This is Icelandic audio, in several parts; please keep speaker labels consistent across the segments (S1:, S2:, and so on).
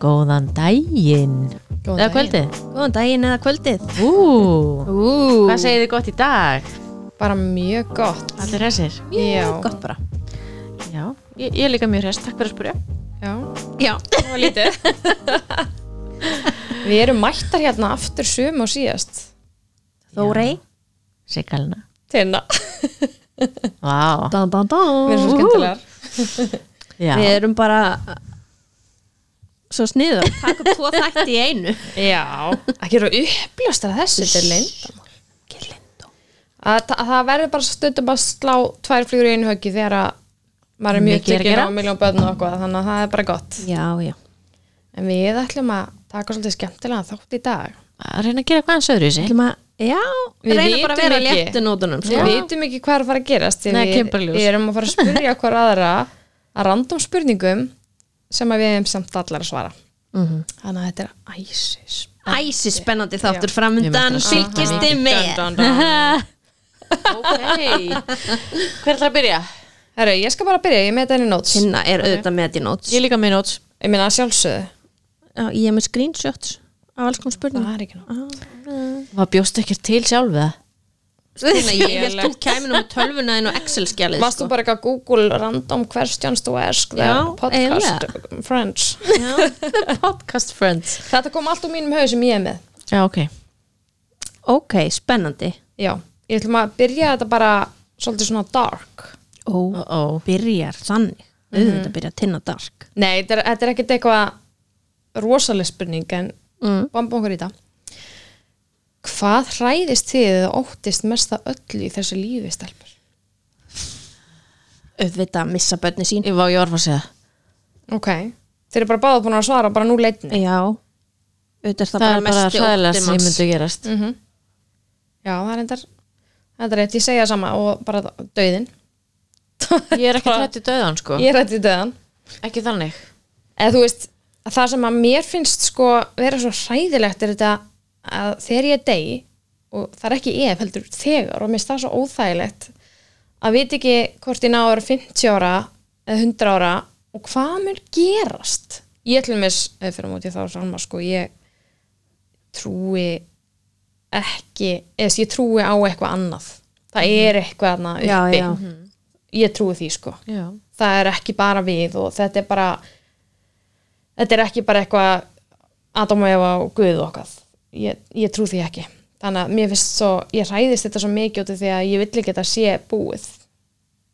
S1: Góðan daginn
S2: Góðan
S1: Eða
S2: daginn.
S1: kvöldið
S3: Góðan daginn eða kvöldið.
S1: Ú,
S3: Ú,
S1: Hvað segir þið gott í dag?
S2: Bara mjög gott.
S1: Allir hressir
S2: Já.
S3: gott bara.
S1: Já, ég, ég er líka mjög hress, takk fyrir að spyrja
S2: Já,
S3: Já.
S2: það var lítið. Við erum mættar hérna aftur sömu og síðast.
S3: Þórei.
S1: Sigalina
S2: Tina.
S1: Vá
S3: Dan, dan,
S2: Við erum svo
S3: dan.
S2: skemmtilegar.
S1: Já,
S3: Við erum bara svo sniður. Takk upp tvo þætti í einu.
S2: Já. Ekki eru að uppljóstra þessu til lindamál. Að, þa- að það verður bara stundum að slá tvær flýgur í einu höggi þegar að maður er mjög
S1: Mikið er að
S2: tekinn
S1: gera.
S2: á miljón börn og okkur þannig að það er bara gott.
S3: Já, já.
S2: En við ætlum að taka svolítið skemmtilega þátt í dag.
S1: að reyna að gera hvað hans öðru í sig
S3: Ætlum að, já,
S2: Við
S3: reyna bara að vera
S2: vitum ekki.
S3: léttu nótunum. sko.
S2: Við vitum ekki hvað er að fara að gerast því
S1: Nei,
S2: við,
S1: kemur bara í ljós.
S2: við erum að fara að spyrja hver aðra að random spurningum sem að við hefum samt allar að svara Þannig að þetta er æsis
S3: Æsi spennandi þáttur framundan, fylgist þið með.
S1: Ok Hver ætlar að byrja?
S2: Herru, ég skal bara byrja, ég er með þetta í notes
S3: Kynna er auðvitað með þetta í nóts.
S1: Ég er líka með nóts
S2: Ég meina sjálfsögðu,
S3: Já, Ég er með screenshots af alls konar spurningum.
S2: það er ekki nóg
S1: Hvað bjóst ekkert til sjálf það?
S3: Svona, ég held þú kæminu með tölvunaðin og Excel-skjalið. sko.
S2: Varst þú
S4: Sko.
S2: bara eitthvað Google random questions to ask the
S3: Já,
S2: podcast friends
S1: The podcast friends
S2: Þetta kom allt úr mínum haug sem ég er með
S1: Já, ok
S3: Ok, spennandi.
S2: Já, ég ætlum að byrja þetta bara svolítið svona dark
S3: Ó,
S1: uh -oh.
S3: byrjar þannig. Auðvitað byrja að tinna dark.
S2: Nei, þetta er, þetta er ekkit eitthvað rosaleg spurning en mm. bamba okkur í það Hvað hræðist þið eða óttist mest að öllu í þessu lífi stelpur?
S3: auðvitað að missa börni sín
S1: Ég var, ég var að fara að segja það.
S2: Ok, þeir eru bara báða búin að svara bara nú leitni
S3: já, auðvitað er það,
S1: Það er
S3: bara
S1: bara
S3: mesti
S1: hræðilegast
S3: ótti
S1: sem
S3: manns
S1: myndi gerast
S2: Já, það er endar Þetta er rétt, ég segja sama og bara döðin
S1: Ég er ekki hrætt í döðan sko
S2: Ég er rætti döðan
S1: Ekki þannig
S2: Eða þú veist, það sem að mér finnst sko vera svo hræðilegt er þetta að þegar ég degi og það er ekki ef heldur þegar og mér finnst það svo óþægilegt að vita ekki hvort ég náður 50 ára eða 100 ára og hvað mér gerast ég ætlum þess, eða fyrir móti þá sama sko, ég trúi ekki eða ég trúi á eitthvað annað það er eitthvað þarna uppi
S3: Mhm. já, já,
S2: ég trúi því sko
S1: Já
S2: það er ekki bara við og þetta er bara þetta er ekki bara eitthvað Adam og Eva og Guð og okkar ég, ég trú því ekki þannig að mér finnst svo, ég hræðist þetta svo mikið út af því að ég vill ekki að þetta sé búið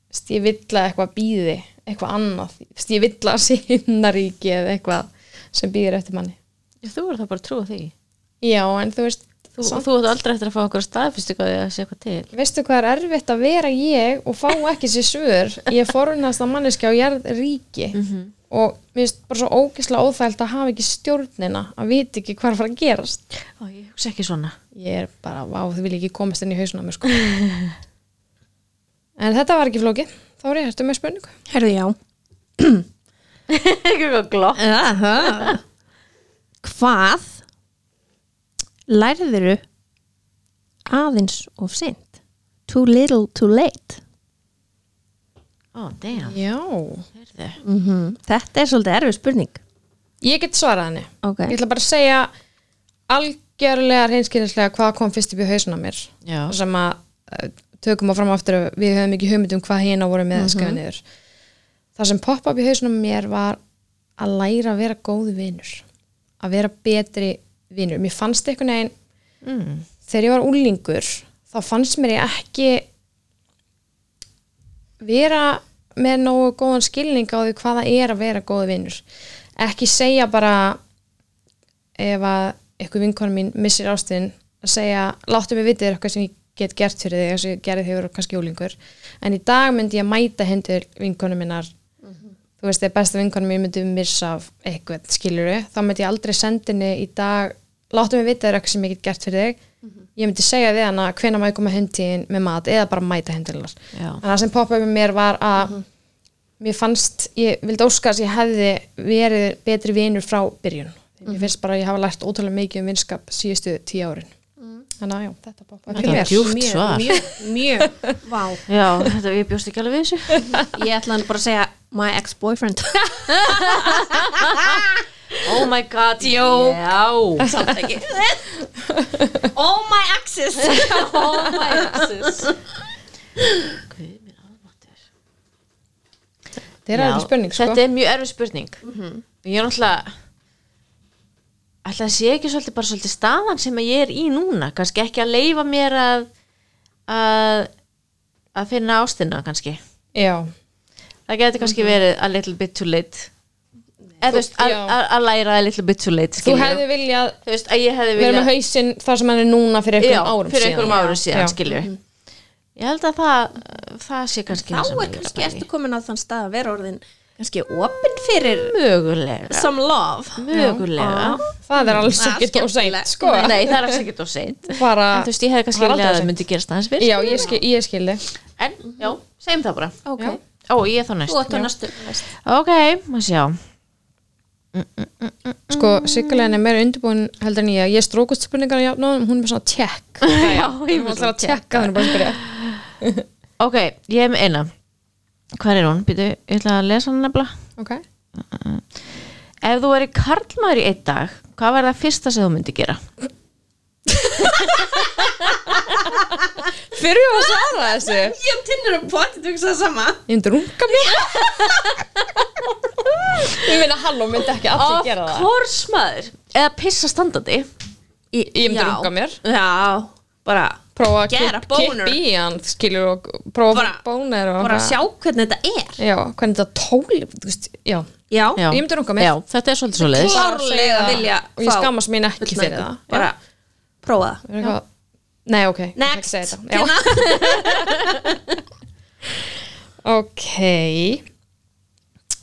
S2: Vist, ég vill að eitthvað býði eitthvað annað, Vist, ég vill að sé himnaríki eða eitthvað sem býðir eftir manni
S1: Þú er það bara að trúa því
S2: já, en þú veist,
S1: Þú, þú átt aldrei eftir að fá okkur staðfyrstingu að því að sé eitthvað til
S2: veistu hvað er erfitt að vera ég og fá ekki sér svör ég er forunast að manneskja á jarð ríki og mér finnst bara svo ógislega óþælt að hafa ekki stjórnina að vita ekki hvað er að fara að gerast
S1: Ó, ég hugsa ekki svona
S2: ég er bara, vá, þið vil ekki komast inn í hausuna mér sko en þetta var ekki flókið þá er ég hættu með spurningu
S3: herðu já
S1: Ekki eitthvað glott
S3: Aha. hvað lærðuru aðeins of sent too little too late
S1: Ó, damn
S2: já,
S1: Heyrðu.
S3: mm þetta er svolítið erfið spurning
S2: ég get svarað henni
S3: ok,
S2: ég ætla bara að segja algjörlega reynskýrislega hvað kom fyrst upp í hausuna mér
S1: Já,
S2: sem að eh, tökum að fram aftur að við höfum ekki hugmynd um hvað hérna voru með mm
S1: Mhm.
S2: skrifa niður það sem poppa upp í hausnum á mér var að læra að vera góð vinur að vera betri vinur mér fannst einhvern veginn
S1: mm.
S2: þegar ég var úlingur þá fannst mér ég ekki vera með nógu góðan skilning á því hvað það er að vera góði vinnur ekki segja bara ef að eitthvað vinkonu mín missir ástin að segja, láttu mig vitið er eitthvað sem ég get gert fyrir þig, þess að ég gerði þegar ég voru kannski úlingur en í dag myndi ég mæta hendur vinkonu minnar þú veist, þegar besta vinkonum mér myndi missa af eitthvað, skiluru, þá myndi ég aldrei sendinni í dag, láttu mig vita það er eitthvað sem ég get gert fyrir þig ég myndi segja við hana hvenær maður koma hundin með mat eða bara mæta hundilinnar
S1: Já.
S2: en það sem poppaði með mér var að mér fannst, ég vildi óska að ég hefði verið betri vinur frá byrjun
S1: Mhm.
S2: mér finnst bara að ég hafa lært ótrúlega mikið um vinskap síðustu tíu árin þannig að já, þetta poppaði
S1: Mhm. Þetta
S2: fyrir
S1: var
S2: mér
S1: djúpt svar
S3: mjög, mjög vá,
S1: Já, þetta ég bjóst ekki alveg við þessu
S3: ég ætla hann bara að segja my ex-boyfriend
S4: Oh my god,
S1: Jók.
S4: já Samt ekki Oh my axis Oh my axis
S1: Guð, minn almáttur.
S2: þetta er
S1: Já,
S2: aðeins spurning sko.
S1: Þetta er mjög erfið spurning Ég er náttúrulega Ætli það sé ekki svolítið bara svolítið staðan sem að ég er í núna kannski ekki að leifa mér að að, að finna ástina kannski
S2: já,
S1: það getur kannski verið a little bit too late eða Mhm. þú veist að-
S2: já.
S1: að að læra a little bit too late
S2: þú
S1: skilurðu.
S2: hefði viljað
S1: þú veist að ég hefði
S2: vera
S1: viljað
S2: með hausinn þar sem hann er núna fyrir
S1: já,
S2: einhverjum árum
S1: fyrir einhverjum
S2: síðan.
S1: árum síðan
S2: Já. Mm.
S1: skilju ég held að það, það sé kannski
S4: Þá
S1: það sem
S4: er
S1: ég að
S4: kannski
S1: pæla í.
S4: ertu komin á þann stað að vera orðin kannski opinn fyrir
S1: mögulega
S4: some love
S1: mögulega
S4: Já.
S2: það er alls
S4: Það er
S2: ekkert
S4: skemmtilegt.
S2: ósænt sko.
S1: nei það er ekki of seint
S2: bara,
S1: en þú veist ég hefði kannski
S2: Það er
S1: viljað að
S2: aldrei of
S1: það
S2: seint.
S1: myndi gerast aðeins fyrst
S2: já, ég, skil, ég skildi
S1: en já, segjum það bara
S4: Ok,
S2: Já.
S1: ó ég er þá
S4: þú
S1: næst
S4: átt á næstu
S1: ok, maður sjá Mm.
S2: sko, Sigurlegin er meira undirbúin heldur en ég, ég strókust spurningar já, ná, hún er með svona tjekk
S1: já, ég
S2: hún
S1: vil
S2: er alltaf að tjekka þannig bara að spyrja
S1: ok, ég hef með eina hvað er hún? Býtu, ég ætla að lesa hann nefnilega
S2: ok,
S1: Ef þú væri karlmaður í einn dag, hvað var það fyrsta sem þú myndi gera?
S2: fyrir við að svara þessu ég
S4: Ég tinnur að poti, þú hugsaði sama
S2: myndi runga mér ég meina halló, myndi ekki allir gera það
S4: course maður
S1: Eða pissa standandi?
S4: Ég
S2: Ég myndi runga mér.
S4: Já, bara
S2: prófa að
S4: Gera
S2: kipp-
S4: boner.
S2: kippa í hann skilur og prófa
S4: Bara-
S2: bara, bónir og
S4: bara
S2: eitthvað.
S4: sjá hvernig þetta er
S2: já, hvernig þetta tóli þú veist, já,
S4: Já,
S1: Já.
S2: Ég myndi runga mér.
S1: Já, þetta er svolítið svoleiðis.
S4: Klá- Klárlega
S2: Bara segja-
S4: vilja
S2: og ég
S4: fá
S2: skammast mín ekki
S4: fullnægingu.
S2: fyrir það
S4: Bara prófa það
S2: Verður eitthvað- nei, ok, ég ætla ekki að
S4: Next Hérna.
S2: segja þetta. Já. ok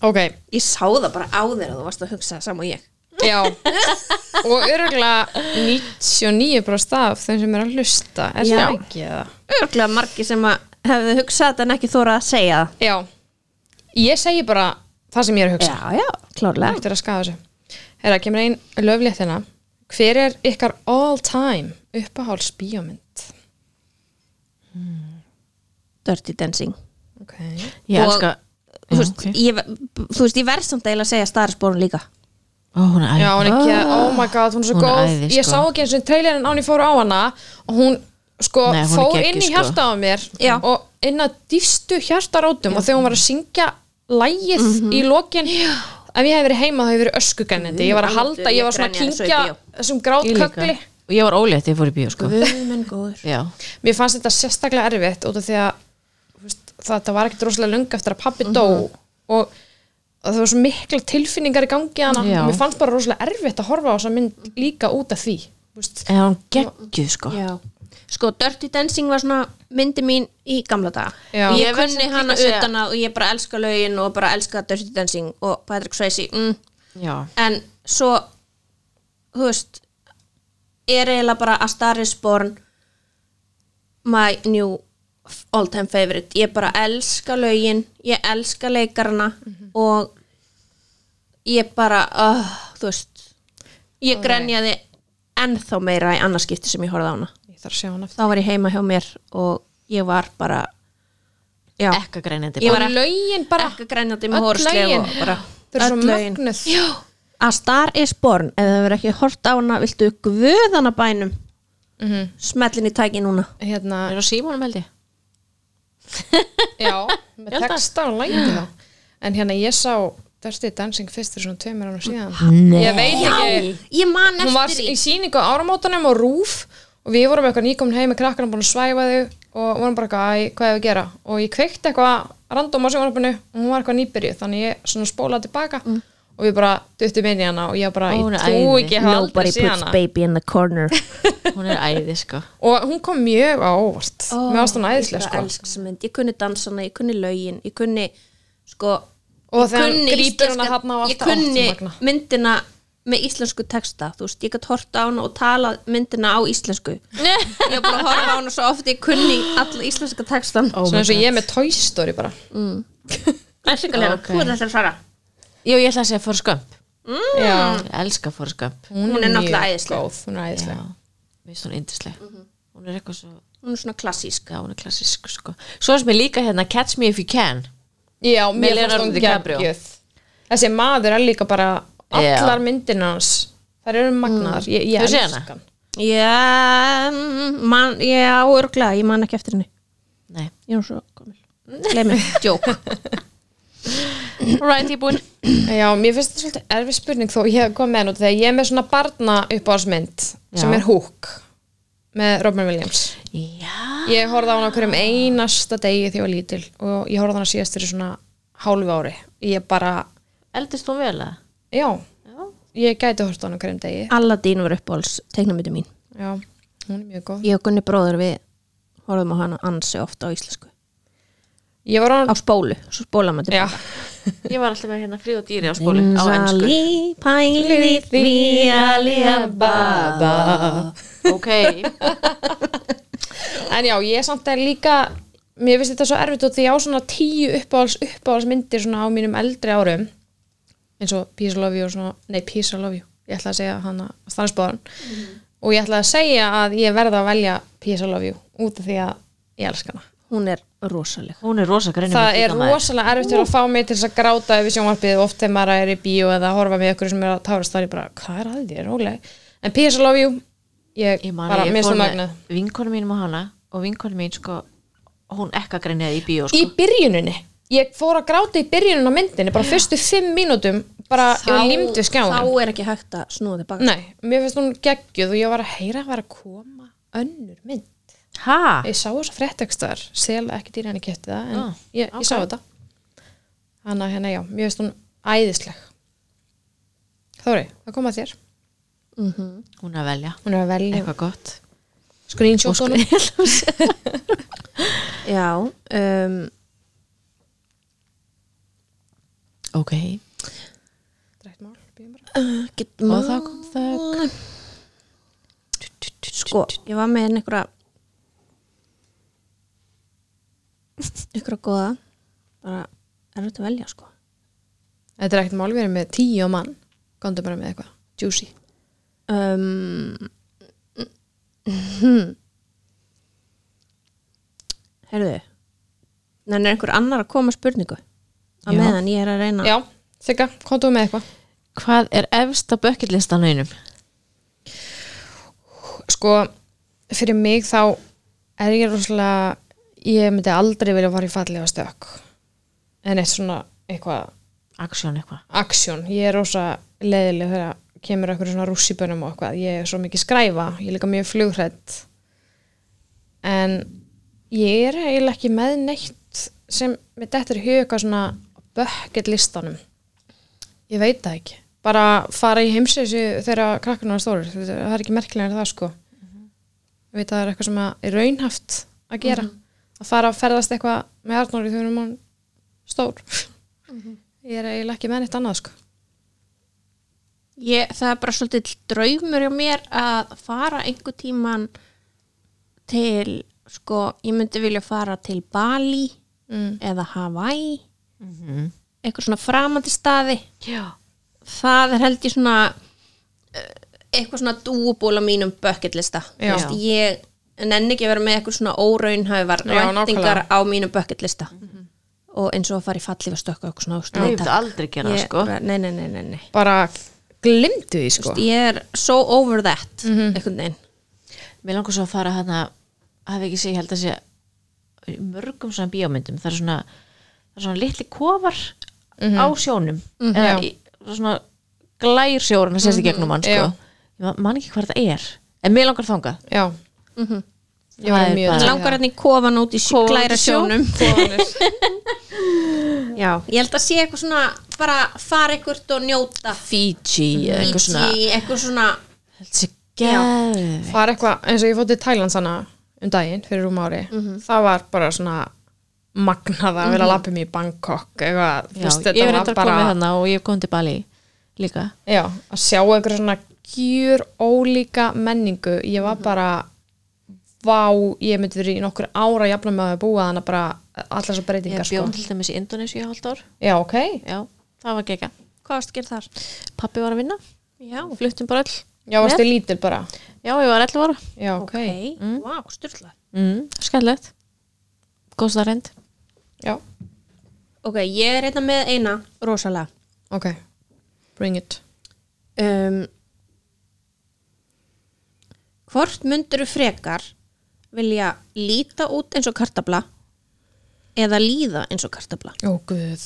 S2: ok,
S4: Ég sá það bara á þér að þú varst að hugsa það sama og ég
S2: já og örgulega 99% af þeim sem er að hlusta er
S4: Já.
S2: það ekki eða
S4: Örglega margi sem að hefðu hugsað þetta en ekki þóra að segja það
S2: já, ég segi bara það sem ég er að hugsa
S4: Já, já, klárlega
S2: eftir að skafa þessu Herra, kemur einn löfléttina Hver er ykkar all time uppaháls bíómynd?
S4: Dirty Dancing
S2: Ok,
S1: Ég
S4: Og-
S1: elska...
S4: Þú veist,
S1: ok.
S4: ég, þú veist, ég verð samt eiginlega að segja starfsbórun líka
S1: Ó, hún er
S2: Já, hún er
S1: æði.
S2: ekki, oh my god, hún er svo
S1: Ah. Hún er
S2: góð
S1: æði,
S2: Ég
S1: sko.
S2: sá ekki eins og trailerinn án ég fór á hana og hún sko
S1: Nei, hún er
S2: fór
S1: geggjuð,
S2: inn í
S1: sko.
S2: hjarta á mér
S4: Já.
S2: og inn að dýfstu hjartarótum og þegar hún var að syngja lægið
S1: Mhm.
S2: í lokin ef ég hef verið heima þá hef ég verið öskugennandi ég var að
S4: Guð,
S2: halda, ég var svona að
S4: ég grenjaði svo í
S2: kynkja
S4: bíó.
S2: þessum
S1: Ég líka.
S2: grátkökli
S1: Og Ég var ólétt, ég fór í bíó, sko.
S4: Vöðmenn góður
S1: Já.
S2: mér fannst þetta sérstaklega erfitt út af því að þú veist, þetta var ekkert rosalega lung eftir að pappi dó og og það var svo mikla tilfinningar í gangi hana
S1: Já.
S2: og mér fannst bara rosalega erfitt að horfa á þessa mynd líka út af því þú veist.
S1: En hún geggjuð, sko.
S4: Já Sko, Dirty Dancing var svona myndi mín í gamla daga
S2: Já.
S4: Ég,
S1: Ég verð
S4: kunni
S1: samt
S4: hana
S1: líka að segja-
S4: utan að og ég bara elska lögin og bara elska Dirty Dancing og Patrick Swayze mm.
S1: Já.
S4: En svo, þú veist, er eiginlega bara að Star is Born my new all time favorite. Ég bara elska lögin, ég elska leikarana
S2: Mhm.
S4: og ég bara, uh, þú veist, ég grenjaði ennþá meira í annarskipti sem ég horfði á hana.
S2: ég þarf að sjá hana
S4: Þá var ég heima hjá mér og ég var bara, já,
S1: Ekka greinandi.
S4: Ég
S1: Ég
S4: var-
S1: var...
S2: og lögin bara
S4: ekki grenjandi
S2: öll
S4: með hórslega
S2: lögin.
S4: og bara
S2: þau eru svo
S4: öll lögin.
S2: mögnuð
S4: Já, að Star is Born ef það verður ekki hort á hana, viltu guðana bænum
S2: mm -hmm.
S4: smellin í tæki núna
S2: hérna,
S1: Er á símónum held ég?
S2: já, með
S1: Ég held að-
S2: texta og lægin þá en hérna ég sá Dirty Dancing fyrst fyrir svona tveimur ára síðan
S1: Nei.
S2: ég veit ekki
S4: ég man
S2: hún var
S4: eftir
S2: í
S4: því
S2: síningu á áramótanum og rúf og við vorum eitthvað nýkomin heim með krakkarna búin að svæfa þau og vorum bara eitthvað, æ, hvað hefur að gera og ég kveikti eitthvað random á sjónvarpinu og hún var eitthvað nýbyrju þannig ég svona spólaði tilbaka
S4: Mm.
S2: og við bara duttum inn í hana og ég bara,
S1: Ó, hún
S2: ég
S1: er
S2: trú
S1: æði.
S2: ekki að hafa
S4: nobody
S2: aldrei
S4: puts
S2: síðan hana
S4: baby in the corner
S1: Hún er æði, sko.
S2: og hún kom mjög á óvart oh, með ástæðan æðislega sko
S4: sko. ég kunni dansana, ég kunni lögin ég kunni sko
S2: Og
S4: ég
S2: þegar hann
S4: kunni
S2: grípur
S4: íslenska-
S2: hana þarna og
S4: ég
S2: allt, ó,
S4: kunni
S2: þetta er magnað.
S4: myndina með íslensku texta þú veist, ég gætt hort á hana og tala myndina á íslensku ég var bara að horfa á hana svo oft ég kunni all íslenska textan
S1: Oh my
S2: svona eins og
S1: god.
S2: ég er með Toy Story bara
S4: en sérkulega,
S1: Ok.
S4: þú er þess að fara
S1: Jú, ég ætla að segja fór skömp.
S2: já,
S1: Ég elska fór skömp.
S4: Hún
S2: mjög
S4: er náttúrulega æðisleg.
S2: góð, hún er æðislega
S1: Mér finnst hún indisleg. Hún er eitthvað svo...
S4: hún er svona klassísk
S1: Já, hún er klassísk, sko. Svo sem ég líka hérna Catch Me If You Can.
S2: Já,
S1: Með
S2: mér fannst
S1: Leonardo
S2: hún
S1: DiCaprio.
S2: geggjöð Þessi maður er líka bara
S1: Já.
S2: allar myndina hans þær eru magnaðar, ég, ég
S1: Hefur séð
S2: elska
S1: hana?
S2: hann
S4: Já, mm, man, já, örglega, ég man ekki eftir henni.
S1: Nei.
S4: Ég er svo komil. Gleimi, djók.
S1: Alright, ég er búin.
S2: já, mér finnst þetta svolítið erfið spurning þó ég kom með hann út þegar ég er með svona barna uppáhalsmynd sem
S1: Já.
S2: er Hook með Robin Williams
S1: Já.
S2: ég horfði á hann okkur um einasta degi þegar ég var lítil og ég horfði á hann síðast fyrir svona hálfu ári ég bara,
S1: Eldist hún vel að?
S2: já,
S1: Já.
S2: ég gæti horfði á hann okkur um degi
S4: Alladín var uppáhalds teiknamyndu mín.
S2: já, hún er mjög góð
S4: Ég og Gunni bróður við horfum á hana ansi ofta á íslensku.
S2: ég var á
S4: Á
S2: hann,
S4: spólu, svo spóla maður
S2: já,
S1: Ég var alltaf með hérna fríð og dýri á skóli á ennsku.
S4: Sali, pæli, því, aliababa.
S1: Ok.
S2: en já, ég samt er líka mér finnst þetta svo erfitt og því á svona tíu uppáhals uppáhalsmyndir svona á mínum eldri árum eins og Peace I Love You og svona, nei Peace I Love You ég ætla að segja hana stannspáðan
S1: Mhm.
S2: og ég ætla að segja að ég verða að velja Peace I Love You út af því að ég elska hana
S4: Hún er rosaleg.
S1: Hún er rosa greinum.
S2: það er rosalega erfitt fyrir að fá mig til þess að gráta yfir sjónvarpið og oft þegar maður er í bíó eða að horfa með ykkur sem er að tárast þá er ég bara, hvað er að þér, róleg en Peace I Love You, ég,
S1: Ég man
S2: bara
S1: að ég
S2: minnst
S1: fór
S2: það
S1: með
S2: magnað
S1: vinkonum mínum á hana og vinkonum mín sko, hún ekka greinjaði í bíó
S2: í
S1: sko.
S2: byrjuninni ég fór að gráta í byrjunin á myndinni bara fyrstu fimm mínútum bara ég var límd við skjáin
S4: þá er ekki hægt að snúa þig baka.
S2: Nei, mér finnst hún geggjuð og ég var að heyra að var að koma önnur mynd
S1: Ha?
S2: ég sá þess að fréttekstar sel ekki dýr henni kjöpti það en
S1: Ah,
S2: ég, ég sá
S1: ok.
S2: þetta hann að hérna já, mér finnst hún æðisleg Þóri, það kom að þér
S1: Hún er að velja.
S2: hún er að velja
S1: Eitthvað gott.
S2: skrýnsjóttunum
S4: Já, um,
S1: Ok.
S2: ég
S4: getum
S1: Og þá kom
S2: Mm.
S1: þögn.
S4: sko, ég var með einhverja einhverja góða bara er þetta velja sko
S2: þetta er ekkert mál, við erum með tíu á mann gondum bara með eitthvað, juicy
S4: um, herðu þannig er einhver annar að koma að spurningu á
S1: Já.
S4: meðan ég er að reyna
S2: já, þykka, kontum með eitthvað
S1: Hvað er efsta bökkillistan einum?
S2: sko, fyrir mig þá er ég rosalega ég myndi aldrei vilja fara í fallega stökk en eitt svona eitthvað
S1: Aksjón eitthvað.
S2: aksjón, ég er rosa leðileg þegar kemur okkur svona rússibönum og eitthvað, ég er svo mikið skræfa ég er líka mjög flughrætt en ég er eiginlega ekki með neitt sem mér dettur í huga svona bökkett listanum ég veit það ekki bara fara í heimsreysu þegar krakkarnar er stórir Þetta- það er ekki merkilega en það sko ég veit að það er eitthvað sem að er raunhaft að gera að fara að ferðast eitthvað með Arnóri þegar hún er stór ég er eiginlega ekki með neitt annað sko
S4: Ég, það er bara svolítið draumur hjá mér að fara einhver tíman til, sko, ég myndi vilja fara til Bali
S2: Mm.
S4: eða Hawaii,
S1: Mm -hmm.
S4: eitthvað svona framandi staði.
S1: Já.
S4: Það er held ég svona eh, eitthvað svona dúuból á mínum bucketlista.
S2: Já.
S4: Þú veist, Ég nenni ekki að vera með eitthvað svona óraunhæfar
S2: Já,
S4: ræntingar á mínum bucketlista. Og eins og að fara í fallið að stökka eitthvað svona
S1: Ég
S4: ástæði.
S1: myndi aldrei gera það sko.
S4: Nei, nei, nei, nei, nei.
S2: bara glimtu því sko
S4: ég er so over that einhvern veginn
S1: Mér langar svo að fara hana hafi ekki sé, ég held að sé í mörgum svona bíómyndum það er svona, það er svona litli kofar
S2: Mhm.
S1: á sjónum eða í, svona glær sjórun að sést í gegnum hann sko.
S2: Mhm, Já.
S1: ég man- man ekki hvað þetta er en mér langar þangað
S2: já ég var
S1: Það er
S2: mjög
S1: bara-
S2: til í
S4: langar hérna í kofan út í sjó,
S1: Kofan út í
S4: glæra
S1: sjó.
S4: sjónum
S2: það. Kofanir.
S4: já. ég held að sé eitthvað svona bara fara eitthvað og njóta
S1: Fiji,
S2: Mhm.
S1: eða eitthvað svona
S4: Fiji, eitthvað svona
S1: held sé geðveikt.
S2: það er eitthvað eins og ég fótt til Thailand sanna um daginn fyrir rúm ári það var bara svona magnað að vera að lappa mig í Bangkok eitthvað, þú
S1: Já,
S2: veist,
S1: ég er
S2: þetta
S1: reyndar að
S2: var
S1: koma
S2: bara
S1: hana og ég kom til Bali líka
S2: já, að sjá eitthvað svona gjur ólíka menningu ég var
S1: Mhm.
S2: bara vá, ég myndi verið í nokkur ára jafna með að búa þannig að bara allar svo
S1: ég
S2: breytingar
S1: bjó
S2: sko.
S1: til dæmis í Indonési í hálft ár
S2: já, ok,
S1: já, það var gegga
S4: hvað varst að gera þar?
S1: pappi var að vinna,
S4: já,
S1: fluttum bara öll
S2: já, varstu lítil bara
S1: já, ég var 11 ára
S2: já, ok,
S4: ok, mm. wow, styrla
S1: mm, skemmtilegt góðstarind
S2: já,
S4: ok, ég er einna með eina hérna rosalega
S2: ok bring it
S4: um, hvort myndur frekar vilja líta út eins og kartabla eða líða eins og kartabla
S2: Ó, guð.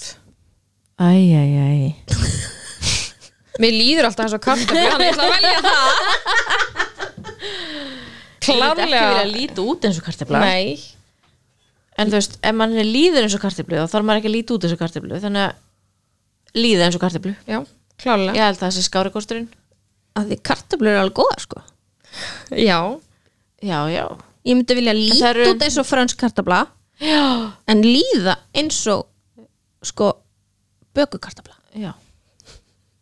S1: Æ, æ, æ
S2: Mér líður alltaf eins og kartabli, hann er að velja það.
S1: Ég vil ekki vilja
S2: Klarlega.
S1: líta út eins og kartefla
S2: Nei.
S1: En þú veist, ef mann er líður eins og karteflu þá þarf maður ekki að líta út eins og karteflu þannig að líða eins og karteflu
S2: Já, klálega.
S1: Ég held það sé skárikosturinn
S4: að því kartabla eru alveg góða sko
S2: Já.
S1: Já, já
S4: ég myndi vilja líta
S1: eru-
S4: út eins og fransk kartabla
S1: Já,
S4: en líða eins og sko bökukartabla
S1: já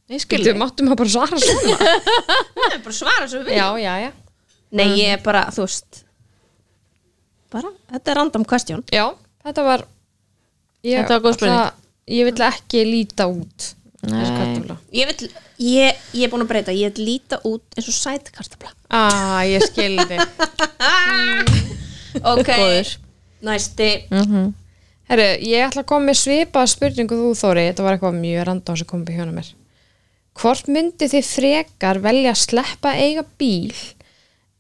S1: Ég skil
S2: Gildi,
S1: þig.
S2: máttum að bara svara svona.
S4: það er bara að svara svo
S2: já, já, já.
S4: nei ég er bara þú veist bara þetta er random question
S2: Já, þetta var... Ég,
S1: Þetta var góð spurning.
S2: ætla- Ég vil ekki líta út.
S1: Nei.
S2: Þessi kartabla.
S4: ég, vill, ég, ég er búin að breyta, ég vil líta út eins og sæt kartabla
S2: Á, ah, ég skildi.
S4: ok, næsti
S2: Herru, ég ætla að koma með svipað spurningu þú Þóri, þetta var eitthvað mjög randá sem kom upp í hjóna mér. Hvort myndi þið frekar velja að sleppa að eiga bíl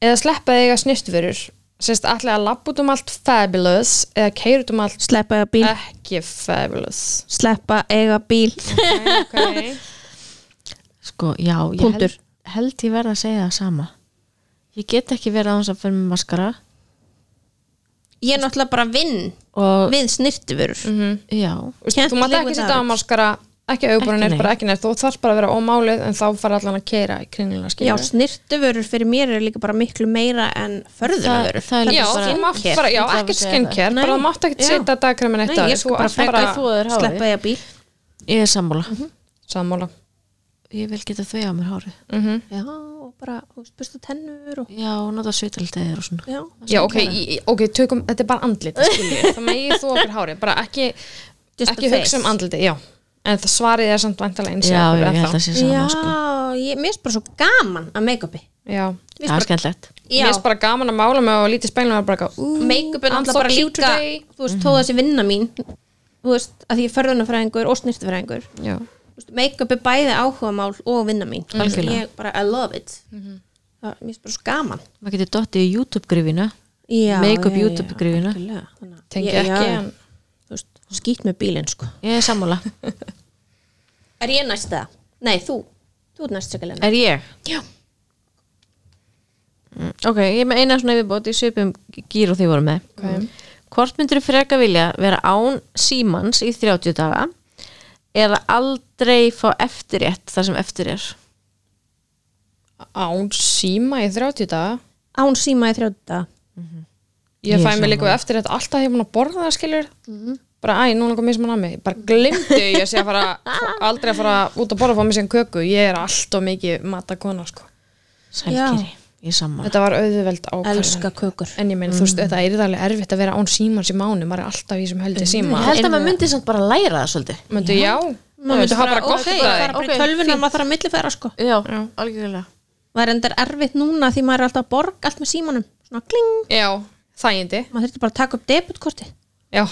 S2: eða sleppa að eiga snýstvörur? Sérst, allir að labba út um allt fabulous eða keyra út um allt
S4: sleppa eiga bíl
S2: ekki fabulous.
S4: sleppa eiga bíl
S2: Okay.
S1: Sko, já, ég
S4: Punktur.
S1: held, held ég verð að segja það sama Ég get ekki verið aðeins að fyrir með maskara
S4: ég er náttúrulega bara vinn
S1: og
S4: við snirtifurur
S1: já,
S4: Kennt
S2: Þú mátt
S4: liggur
S2: ekki setja
S4: það
S2: á maskara, ekki
S1: Ekki
S2: auðbúrunir,
S1: neitt.
S2: bara ekki neitt. Þú þarf bara að vera ómálið en þá fara allan að keira í kringluna
S4: já,
S2: skilur.
S4: snirtifurur fyrir mér er líka bara miklu meira en förðurvörur
S1: Það- það er líka
S2: Já,
S1: bara-
S2: þú mátt
S4: skincare.
S2: bara, já,
S1: Ég ætla að
S2: ekkert
S1: segja
S2: skincare,
S4: það.
S2: bara
S4: Nei.
S2: þú mátt ekki
S4: Já.
S2: setja dagkræmin eitt
S4: Nei, ég sko bara
S1: frekar bara... Mhm. þóður hárið
S4: sleppa eiga bíl
S1: Ég er sammála
S2: Sammála.
S1: Ég vil geta þvei á mér hárið
S2: Mhm.
S4: já, og bara, þú veist, bursta tennur og
S1: Já, og nota svitaldegir og svona
S4: já,
S2: Já, ok, í- ok, tökum, þetta er bara andlit það skil ég. það megi þú okkur hárið bara ekki,
S4: Just
S2: ekki
S4: the
S2: hugsa um
S4: face.
S2: andliti já. en það svarið er samt vantilega eins
S1: Já, ég held að sé sama
S4: já
S1: sko.
S4: ég, mér er bara svo gaman að make-upi
S2: já.
S4: Mér
S1: Það
S4: finnst
S1: er skemmtlegt
S4: Já.
S2: mér er bara gaman að mála mig og lítið speilum og bara, ú,
S4: make-up er
S2: I'm
S4: náttúrulega bara
S2: so cute
S4: líka
S2: today. Mhm.
S4: þú veist, þó þessi vinna mín þú veist, að því ég er förðunafræðingur og snirtufræðingur
S2: já,
S4: Þú veist, make-up er bæði áhugamál og vinna mín
S1: Algjörlega.
S4: ég bara, I love it
S2: Mhm.
S4: það mér finnst bara svo gaman
S1: Maður getur dottið í YouTube-grifina
S4: já,
S1: Make-up
S4: já, já,
S1: YouTube-gryfjuna.
S4: algjörlega. Þannig að-
S2: tengi
S4: Ég-
S2: ekki
S4: já,
S2: en,
S4: þú veist, skýt með bílinn sko
S1: Ég er sammála
S4: er ég næst það? nei, þú, þú ert næst sérkjölinu
S1: Er ég?
S4: já,
S1: Mm, Ok, ég er með eina svona yfirbót í svipum gýr og því voru með okay. Hvort myndur freka vilja vera án símans í 30 daga eða aldrei fá eftirrétt þar sem eftir er
S2: án síma í 30 daga
S4: án síma í þrjóta
S2: ég fæ mig líka eftir þetta alltaf hefur búin að borða það skilur bara, æ, núna kom mismann að mig bara glimtu ég sé að fara aldrei að fara út að borða og fá mig sem köku ég er alltof mikið matakona sko.
S1: Sælgeri, ég er sammála
S2: þetta var auðveld ákvæðan
S4: elska kökur
S2: En ég meina, þú veist, þetta er alveg erfitt að vera án símans í mánu, maður er alltaf í sem heldur síma.
S1: Ég held að maður myndi samt bara læra það svolítið
S2: Möndu, já, maður myndi hafa bara gott
S4: okay,
S2: að
S4: bara
S2: það.
S4: bara í tölvuna, maður þarf að millifæra sko
S1: Já, algjörlega
S4: Það er endar erfitt núna því maður er alltaf að borga allt með símanum. Svona kling,
S2: Já, þægindi,
S4: maður þurfti bara að taka upp debutkorti.
S2: já.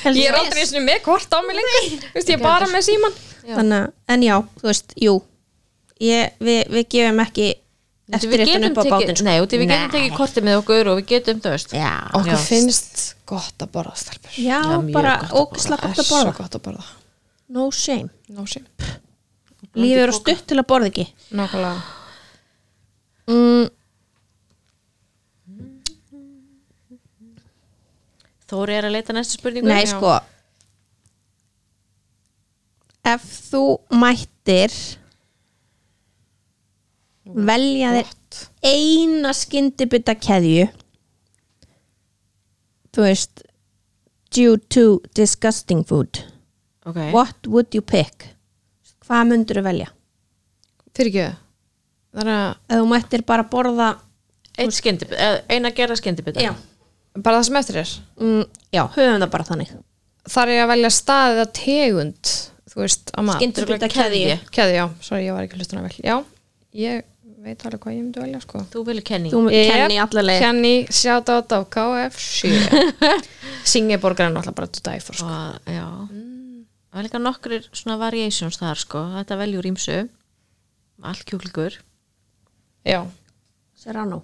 S2: Ég er aldrei eins og með kort á mig lengur, þú veist, ég er bara með síman.
S4: Þannig að, en já, þú veist, jú, ég, við, við gefum ekki
S1: Við
S4: eftirréttin
S1: getum
S4: upp á
S1: tekið,
S4: bátinn. Sko.
S1: nei, út í við getum tekið kortið með okkur og við getum, þú veist Já,
S2: Okkur finnst gott að borða stelpur.
S4: Já,
S1: Já, mjög
S4: bara
S1: gott að
S4: ógisla
S2: Það
S4: gott
S2: er
S4: að
S2: svo
S4: borða.
S2: gott að borða.
S4: No shame.
S2: No shame.
S4: Lífið eru stutt til að borða ekki.
S2: Nákvæmlega.
S4: Mm,
S1: Þóri er að leita næstu spurningu
S4: nei,
S2: já.
S4: sko. Ef þú mættir velja þér
S2: Gott.
S4: eina skyndibita keðju þú veist due to disgusting food
S1: Ok,
S4: what would you pick hvað myndur þú velja
S2: Fyrir ekki það? Það er að,
S4: ef þú mættir bara borða
S1: Eitt skyndibit, eh, eina gerða skyndibit
S4: já,
S2: bara það sem eftir er.
S4: mm, já höfum það bara þannig
S2: Það er að velja staðið að tegund, þú veist, að mat.
S4: skyndibita keðju
S2: Keði, já, sorry, ég var ekki hlustuna vel Já, ég veit alveg hvað ég myndi velja sko.
S1: Þú vilja kenni
S4: þú
S2: Ég-
S4: kenni allar leið
S2: Kenny, shout out á KFC Singeborgar er náttúrulega bara to die for sko.
S1: og, já það var líka nokkur svona variations þar sko þetta veljur ímsu allt kjúklingur
S2: já.
S4: Serrano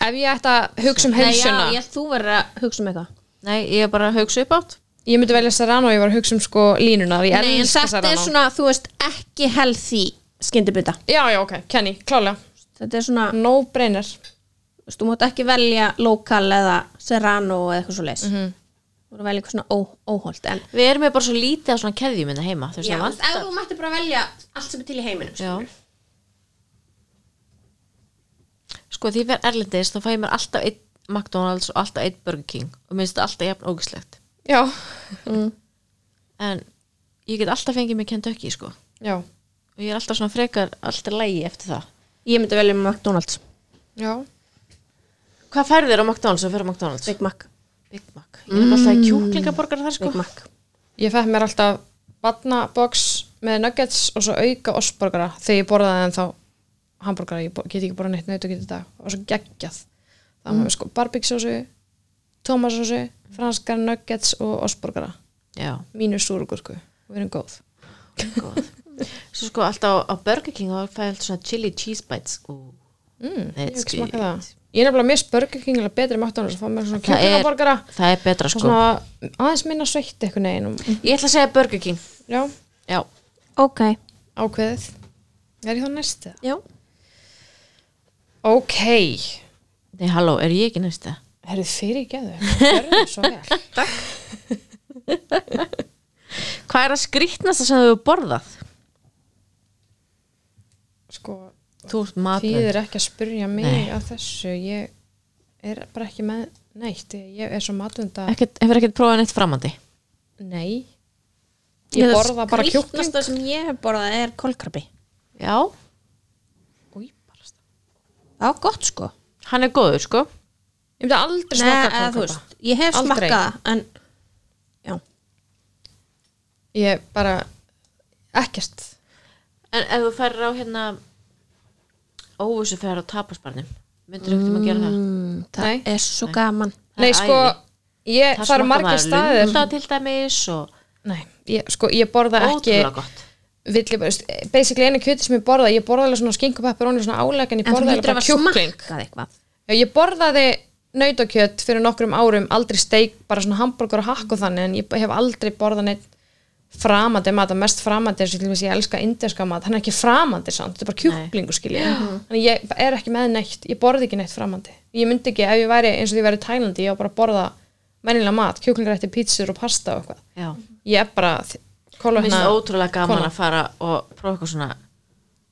S2: Ef ég ætti að hugsa um helsuna,
S4: Nei, já, ég, þú verður að hugsa um eitthvað
S1: nei, ég er bara að hugsa upp átt
S2: ég myndi velja Serrano og ég var að hugsa um sko línuna, því ég
S4: Nei, en
S2: elska
S4: þetta er
S2: Serrano.
S4: svona, þú veist, ekki healthy skyndibita
S2: Já, já, ok, Kenny, klálega.
S4: Þetta er svona,
S2: No brainer.
S4: þú veist, þú mátt ekki velja lokal eða serrano eða eitthvað svo leis
S2: Mhm.
S4: Þú voru að velja eitthvað svona ó, óholt en
S1: við erum með bara svo lítið á svona keðjum minna heima þú veist
S4: Já,
S1: það vant
S4: ef þú mætti bara velja allt sem er til í heiminum
S1: Já.
S4: skilur.
S1: sko því ég verð erlendis þá fæ ég mér alltaf einn McDonalds og alltaf einn Burger King og minnst þetta alltaf jafn ógislegt
S2: Já,
S1: en ég get alltaf fengið mig Kentucky sko og
S2: já,
S1: ég er alltaf svona frekar alltaf lægi eftir það
S4: Ég myndi velja McDonalds,
S2: já.
S1: hvað færðir á McDonalds og fyrir McDonalds?
S4: Big Mac
S1: Big Mac ég er mm. alltaf kjúklingaborgar þar sko
S4: Big Mac
S2: Ég fætt mér alltaf batnabox með nuggets og svo auka osborgara þegar ég borðaði en þá hambúrgara, ég bo- get ekki borðað neitt naut og geta þetta og svo geggjað. Það
S1: Mm.
S2: var sko barbíksósu, tómasósu, franskar nuggets og osborgara.
S1: já,
S2: Mínu súrugurku, við erum góð.
S1: góð svo sko alltaf á, á Burger King og fæ ég alltaf svona chili cheese bites og mm,
S2: Ég hef ekki smakað það. Ég er nefnilega mér Burger King alveg betri McDonalds að fá mér svona
S1: það er,
S2: kjökkunaborgara
S1: það er betra
S2: og
S1: sko
S2: svona aðeins minna sveitt eitthvað neginn og
S1: ég ætla að segja Burger King
S2: já,
S1: já,
S4: Ok
S2: ákveðið. Er ég þá næst eða?
S4: Já
S2: Ok,
S1: nei halló, er ég ekki næsta?
S2: herrið fyrir geðu, verður svo vel.
S1: hvað er að skrýtnasta sem þú hefur borðað?
S2: Sko,
S1: þú ert matur
S2: þýðir ekki að spurja mig að þessu, ég er bara ekki með neitt, ég er svo matvunda,
S1: ekkert, hefur ekkert prófað neitt framandi
S2: nei. Ég borða bara kjúkling.
S4: sem ég hef borðað er kolkrabi
S1: já,
S4: Það var gott sko
S1: hann er góður sko
S2: Ég myndi aldrei
S4: Nei,
S2: smaka
S4: eða þú
S2: kókapa.
S4: veist, ég hef
S2: Aldrei.
S4: smakkað það, en já,
S2: Ég bara, ekkert.
S1: en ef þú færir á hérna óvissu færir á tapasbarnum myndir þú ekkert að gera það?
S4: það
S2: Nei.
S4: er svo gaman
S1: Það er
S2: Nei, sko, ég, það eru
S1: smakkar
S2: margir
S1: maður
S2: staðir.
S1: lunda til dæmis og
S2: Nei, ég, sko, ég borða ekki
S1: ótrúlega gott
S2: vill ég bara, veist, basically einu kjöti sem ég borða ég borða alveg svona skinkupepperoni svona áleg en ég
S4: En þú
S2: borða alveg
S4: hýttur
S2: bara
S4: að hafa
S2: kjúkling
S4: smakkað eitthvað
S2: Já, ég borðaði nautakjöt fyrir nokkrum árum aldrei steik, bara svona hambúrgur og hakk og þannig en ég hef aldrei borðað neitt framandi mat, að mest framandi er svo til þess að ég elska inderska mat, hann er ekki framandi samt, þetta er bara kjúklingu skilja þannig ég er ekki með neitt, ég borði ekki neitt framandi ég myndi ekki, ef ég væri eins og því ég væri í Tælandi, ég á bara að borða mennilega mat, kjúklingrætti, pítsur og pasta og eitthvað,
S1: já
S2: ég er bara kóla
S1: Mér finnst það ótrúlega gaman
S2: kona.
S1: að fara og prófa eitthvað svona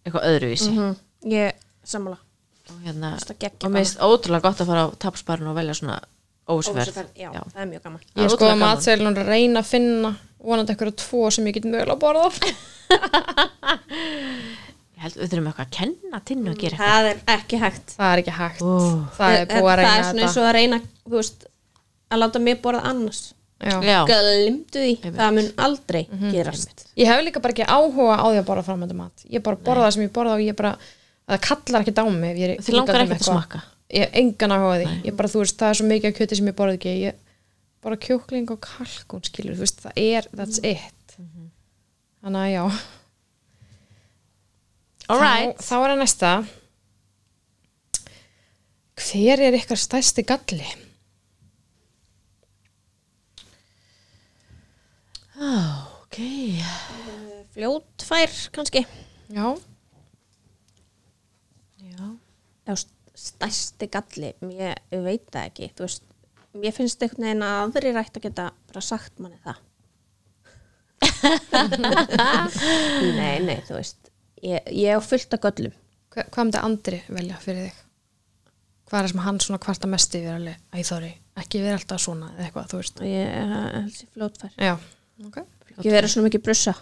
S1: eitthvað öðruvísi
S2: Mm.
S4: Ég, sammála
S1: og, hérna,
S4: Mhm. Finnst það geggjað
S1: og mér finnst ótrúlega gott að fara á tapsbarn og velja svona ósverð
S4: Óvissuferð, já, það er mjög gaman
S1: Það
S2: Ég
S1: er
S2: er skoða
S1: ótrúlega gaman.
S2: matseilin og reyna að finna vonandi ekkur tvo sem ég get mögulega að borða
S1: Ég held við þurfum eitthvað að kenna tinnu að gera eitthvað
S4: Mm, Það er ekki hægt Eh,
S2: Það er ekki hægt
S1: Ó.
S2: Það er búið að
S4: það
S2: reyna
S4: er svona
S2: þetta
S4: eins og að reyna, þú veist, að láta mig borða annars
S2: Já. Mhm,
S1: Já,
S4: Glimtu því, það mun aldrei gerast
S2: Ég hef líka bara ekki áhuga á því að borða framöndu mat Ég bara borða það sem ég borða og ég bara það kallar ekki á mig ef ég er
S1: Þig langar
S2: hingað um
S1: ekkert að
S2: eitthvað.
S1: smakka?
S2: Ég hef engan áhuga á því Ég bara, þú veist, það er svo mikið af kjöti sem ég borða ekki Ég bara kjúkling og kalkun skilur Þú veist, það er, that's
S1: Mm.
S2: it
S1: Mhm.
S2: Þannig að já
S1: alright
S2: þá, þá er að næsta Hver er ykkar stærsti galli?
S1: Ok,
S4: Fljótfær, kannski
S2: Já,
S1: já
S4: Já, st- stærsti galli, ég veit það ekki þú veist, mér finnst einhvern veginn að aðri rætt að geta bara sagt manni það Nei, nei, þú veist ég, ég á fullt af göllum
S2: Hva, hvað myndi Andri velja fyrir þig? Hvað er það sem hann svona kvarta mest yfir alveg? Æ, Þóri, ekki vera alltaf svona eða eitthvað, þú veist
S4: og ég er fljótfær
S2: Já, ok
S4: Ég verið svona mikið brussa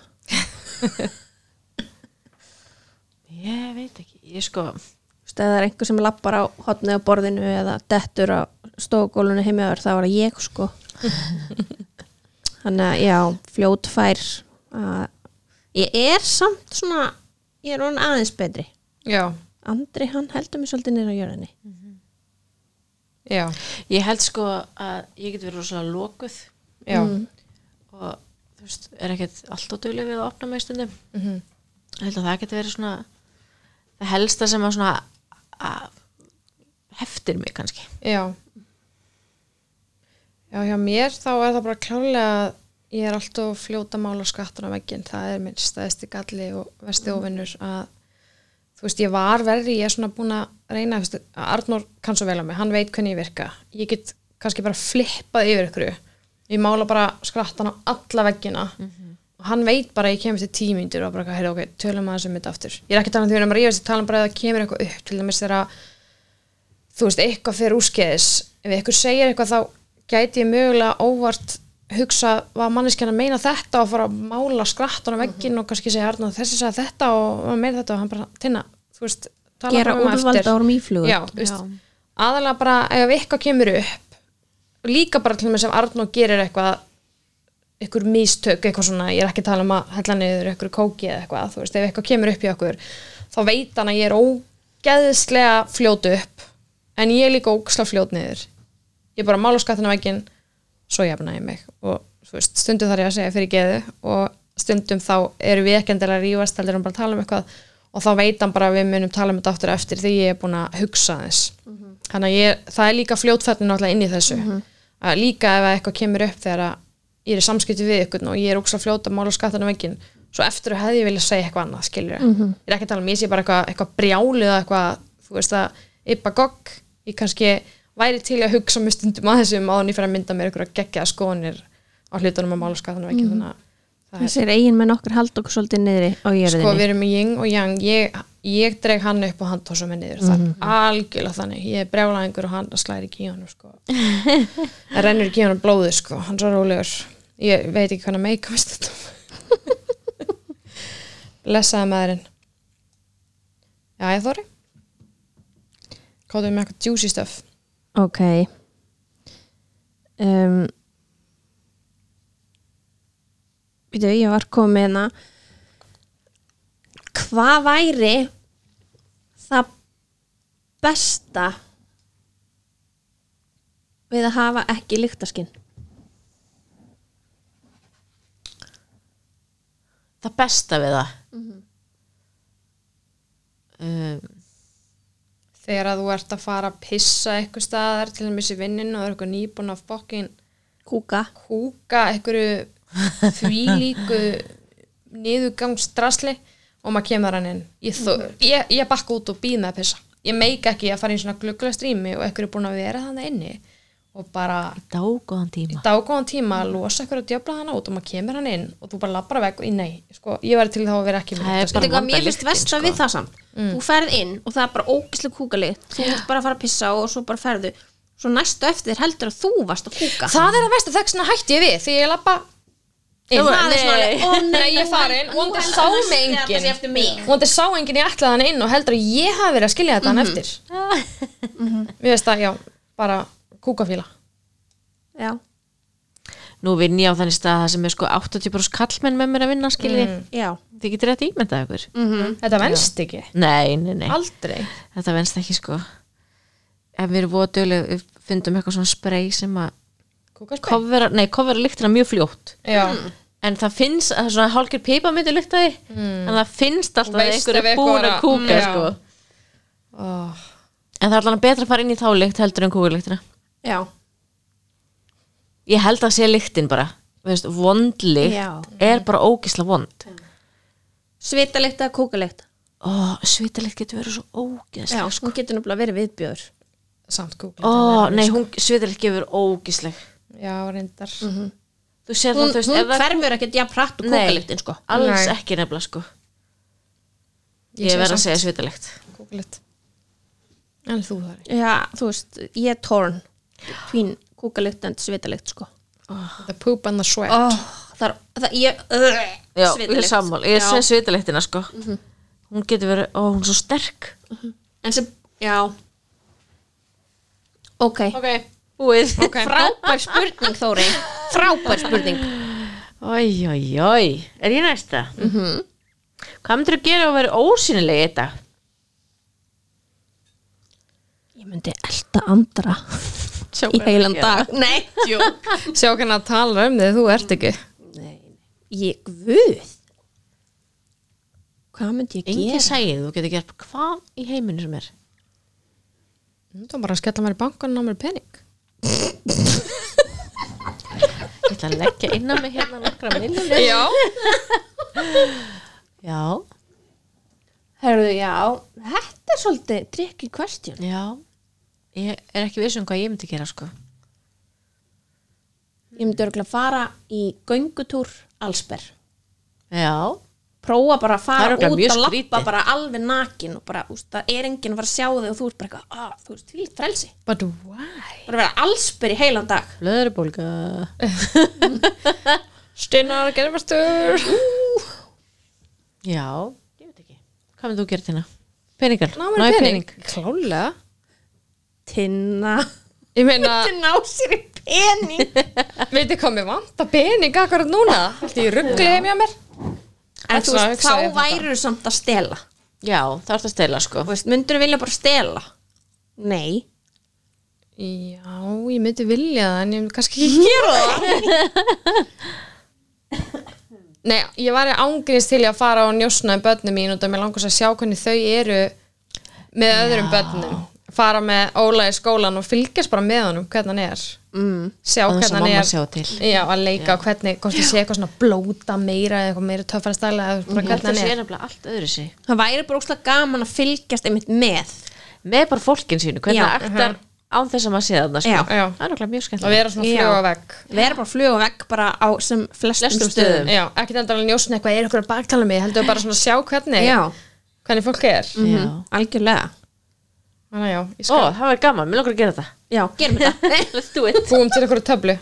S1: Ég veit ekki, ég sko
S4: Þú veist, ef það er einhver sem lappar á hotnið á borðinu eða dettur á stóðgólunni heimjaður, það var það ég sko þannig að já fljótfær að ég er samt svona ég er hún aðeins betri
S2: Já,
S4: Andri hann heldur mig svolítið nýra á jörðinni
S2: já,
S1: Ég held sko að ég get verið rosalega lokuð
S2: já
S1: og þú veist, er ekkert alltaf dugleg við að opna mig stundum
S2: Mhm.
S1: ég held að það geti verið svona það helsta sem að svona að, heftir mig kannski
S2: Já Já, hjá mér þá er það bara klálega að ég er alltaf fljóta mála skattur á vegginn, það er minn stæðsti galli og vesti óvinnur að þú veist, ég var verri, ég er svona búin að reyna, þú veist, að Arnór kann svo vel á mig, hann veit hvernig ég virka ég get kannski bara flippað yfir ykkur ég mála bara skrattan á alla veggina og hann veit bara að ég kemur til tímyndur og bara, heyrðu, ok, tölum aðeins um þetta aftur ég er ekki talað um því að maður rífast, ég tala um bara að það kemur eitthvað upp til dæmis þegar að þú veist, eitthvað fyrir úrskeiðis ef eitthvað segir eitthvað þá gæti ég mögulega óvart hugsa var manneskjan að meina þetta og fara að mála skrattan á veggin og kannski segja Arna þessi sagði þetta og hann meina þetta og hann bara tinna, þú veist, tala
S3: Gera
S2: bara um það
S3: úrvalda
S2: eftir.
S3: úr mýflugu.
S2: Já, þú veist, aðalega bara ef eitthvað kemur upp líka bara til með sem Arnó gerir eitthvað ykkur mistök, eitthvað svona ég er ekki að tala um að hella niður ykkur kóki eða eitthvað, þú veist, ef eitthvað kemur upp í okkur þá veit hann að ég er ógeðslega fljót upp en ég er líka ógeðslega fljót niður ég er bara mála skattina veginn svo jafna ég mig og þú veist, stundum þar ég að segja fyrir geðu og stundum þá erum við ekki endilega að rífast heldur en bara að tala um eitthvað og þá veit hann bara að við munum tala um þetta aftur eftir því ég er búin að hugsa þess þannig að ég, það er líka fljótfætni náttúrulega inn í þessu að líka ef að eitthvað kemur upp þegar að ég er í samskipti við ykkur og ég er ókslega fljóta að mála skattan á veginn svo eftir að hefði ég vilja segja eitthvað annað skilur ég er ekki að tala um, ég sé bara eitthvað, eitthvað brjálið eða eitthvað, þú veist að yppa gogg, ég kannski væri til að hugsa mjög stundum að þessum áðan ég fyrir að mynda mér ykkur að gegja skoðanir á hlutunum að mála skattan á veginn þannig að það er-
S3: Þessir eigin menn okkar halda okkur svolítið niðri á
S2: sko við
S3: jörðinni.
S2: erum í ying og yang ég, ég dreg hann upp og hann tósa mig niður það er algjörlega þannig ég er brjálæðingur og hann slæri ekki í honum sko. það rennur ekki í honum blóði sko. hann er svo rólegur ég veit ekki hvernig að meika veist þetta lesaði maðurinn já ég þóri kóðum með eitthvað juicy stuff
S3: Ok. Um, Vítu, ég var komið með hana.
S4: hérna. Hvað væri það besta við að hafa ekki lyktaskinn?
S1: það besta við það um,
S2: þegar að þú ert að fara að pissa eitthvað staðar til þess í vinnin og það er eitthvað nýbúin af bokkin
S4: Kúka.
S2: húka einhverju þvílíku niðugangstrasli og maður kemur hann inn ég, þó,
S1: Mm.
S2: ég, ég bakka út og býð með að pissa ég meika ekki að fara í svona glugla strími og einhverju er búin að vera þannig inni og bara
S1: dágóðan tíma
S2: dágóðan tíma að losa einhverju að djöfla hann út og maður kemur hann inn og þú bara labbar vekk og í nei, sko, ég var til þá að vera ekki
S1: Það er
S2: þetta,
S1: bara
S2: sko.
S4: Þetta er
S1: vanda
S4: mér finnst
S1: lyktin,
S4: versta
S1: sko.
S4: við það samt Þú ferð inn og það er bara ógislega kúkalið Þú ert bara að fara að pissa og svo bara ferðu Svo næstu eftir heldur að þú varst að kúka
S2: það er að versta þess að hætti ég við því ég labba inn.
S4: Það er svona alveg, ó,
S2: nei, ég er farin og það sá mig enginn og það sá enginn ég ætlaði hann inn og heldur að ég hafi verið að skilja þetta hann eftir mér veist að já, bara kúkafíla
S4: Já,
S1: nú vinn ég á þannig stað að það sem er sko 80% kallmenn með mér að vinna skilji
S4: já
S1: þið getur þetta ímyndað ykkur
S2: þetta venst ekki,
S1: nei, nei, nei,
S2: aldrei
S1: þetta venst ekki sko ef við erum voðdölu við fundum eitthvað svona spray sem að
S2: kúkaspeg
S1: kofvera, nei, kofvera lyktina mjög fljótt
S2: já,
S1: en það finnst, það er svona hálkir pipa myndi lykta því, en það finnst alltaf
S2: Þú
S1: að
S2: veist
S1: einhver
S2: ef
S1: er
S2: eitthvað
S1: búin
S2: var
S1: að
S2: að-
S1: kúka
S2: Mm, já.
S1: sko.
S2: oh.
S1: en það er allan betra að fara inn í þá lykt heldur en kúkulyktina
S4: Já,
S1: ég held að sé lyktin bara Þú veist, vond
S4: Já.
S1: lykt er bara ógisla vond
S4: svitalykt eða kúkalykt
S1: ó, svitalykt getur verið svo
S4: Já, sko.
S1: ógisla
S4: hún getur nefnilega verið viðbjör
S2: samt kúkla
S1: ó, nei, hún, svitalykt getur verið ógisla
S2: já, reyndar
S1: þú sér það,
S4: Hún,
S1: þú veist,
S4: hún
S1: ef það
S4: hverfur ekkert jafn hratt og
S1: Nei.
S4: kúkalyktin sko
S1: alls
S2: Nei.
S1: ekki nefnilega sko
S2: Ég
S1: ég
S2: segi
S1: verð að
S2: samt.
S1: segja svitalykt
S2: kúklit en þú þar
S4: Já, þú veist, ég er torn Tvín kúkalykt en svitalykt sko
S2: the poop and the sweat
S4: oh, þar, það, ég, uh,
S1: Já, ég er
S4: svitalykt.
S1: sammál, ég
S4: Já.
S1: sé svitaliktina sko Hún getur verið, ó, hún er svo sterk
S4: En sem, já Ok,
S2: ok,
S1: Búið
S2: ok
S4: frábær spurning Þóri Frábær spurning
S1: Ói, ói, ói, er ég næsta? Mm -hmm. Hvað myndir að gera að vera ósýnileg í þetta?
S3: Ég myndi elda andra í heilan dag.
S4: Nei, jú
S2: sjá hvernig að tala um þig, þú ert ekki
S4: Ég, guð hvað myndi ég
S1: engin
S4: gera?
S1: sægið, þú getur gert hvað í heiminu sem er
S2: Þú var bara að skella mér í bankan og ná mér pening.
S1: ég ætla að leggja innan mig hérna nokkra miljónir
S2: Já.
S1: já,
S4: Herðu, já, þetta er svolítið tricky question.
S1: já ég er ekki viss um hvað ég myndi gera sko
S4: Ég myndi örgulega fara í göngutúr allsberg.
S1: já,
S4: Prófa bara að
S1: Það er
S4: fara út
S1: örugglega mjög
S4: að lappa
S1: skrítið.
S4: bara alveg nakin og bara, úst, það er enginn að fara að sjá þig og þú ert bara eitthvað, ah, þú veist, fylgt frelsi.
S2: But why?
S4: Bara vera allsberg í heilan dag.
S1: blöðurubólga
S2: Steinar, gerðumastur.
S1: já, ég veit ekki hvað myndi þú gera þína? peningar,
S2: Ná mér
S1: í
S2: pening. Klálega.
S4: Tinna.
S2: Ég meina,
S4: Þetta ná sér í pening.
S2: veitir hvað mér vantar pening akkurat núna? Þetta ég ruggli heim hjá mér.
S4: en þú
S2: Svona
S4: veist,
S2: hugsaði
S4: þá
S2: ég þetta.
S4: væru samt að stela.
S1: já, það ert að stela sko
S4: Þú veist, myndur vilja bara stela? Nei.
S2: Já, ég myndi vilja það en ég myndi kannski ekki gera það Nei, ég var ángrins til í að fara og njósna um börnum mín og það mér langast að sjá hvernig þau eru með öðrum börnum fara með Óla í skólan og fylgjast bara með honum hvernig hann er mm. sjá
S1: Án þess
S2: hvernig
S1: að
S2: hann
S1: mamma
S2: er
S1: sjái til.
S2: Já, að leika og hvernig, hvort þið sé eitthvað svona blóta meira eða eitthvað meira töffara stæla eða bara
S1: þetta
S2: hvernig
S1: sé
S2: hann er
S1: nefnilega allt öðru sig
S4: Það væri bara óslega gaman að fylgjast einmitt með.
S1: með bara fólkin sínu, hvernig
S4: Já,
S1: það aktar án þess að maður sé þarna sko.
S4: Já.
S2: Já.
S1: það er okkur mjög
S2: að
S1: skemmt
S2: vera svona fljóa vegg
S4: Vera bara að fluga vekk bara á sem flestum,
S1: Flestum
S4: stöðum.
S1: stöðum.
S2: Já, ekkert endalega njósna eitthvað, er eitthvað að baktala mig heldur bara svona að sjá hvernig,
S4: Já,
S2: hvernig fólk er
S1: já.
S4: Mhm. algjörlega.
S2: Þannig að já,
S1: ó,
S2: ég skal
S1: það var gaman, mér langar að gera þetta
S4: Já, gerum þetta.
S1: let's do it
S2: búum til einhverju töflu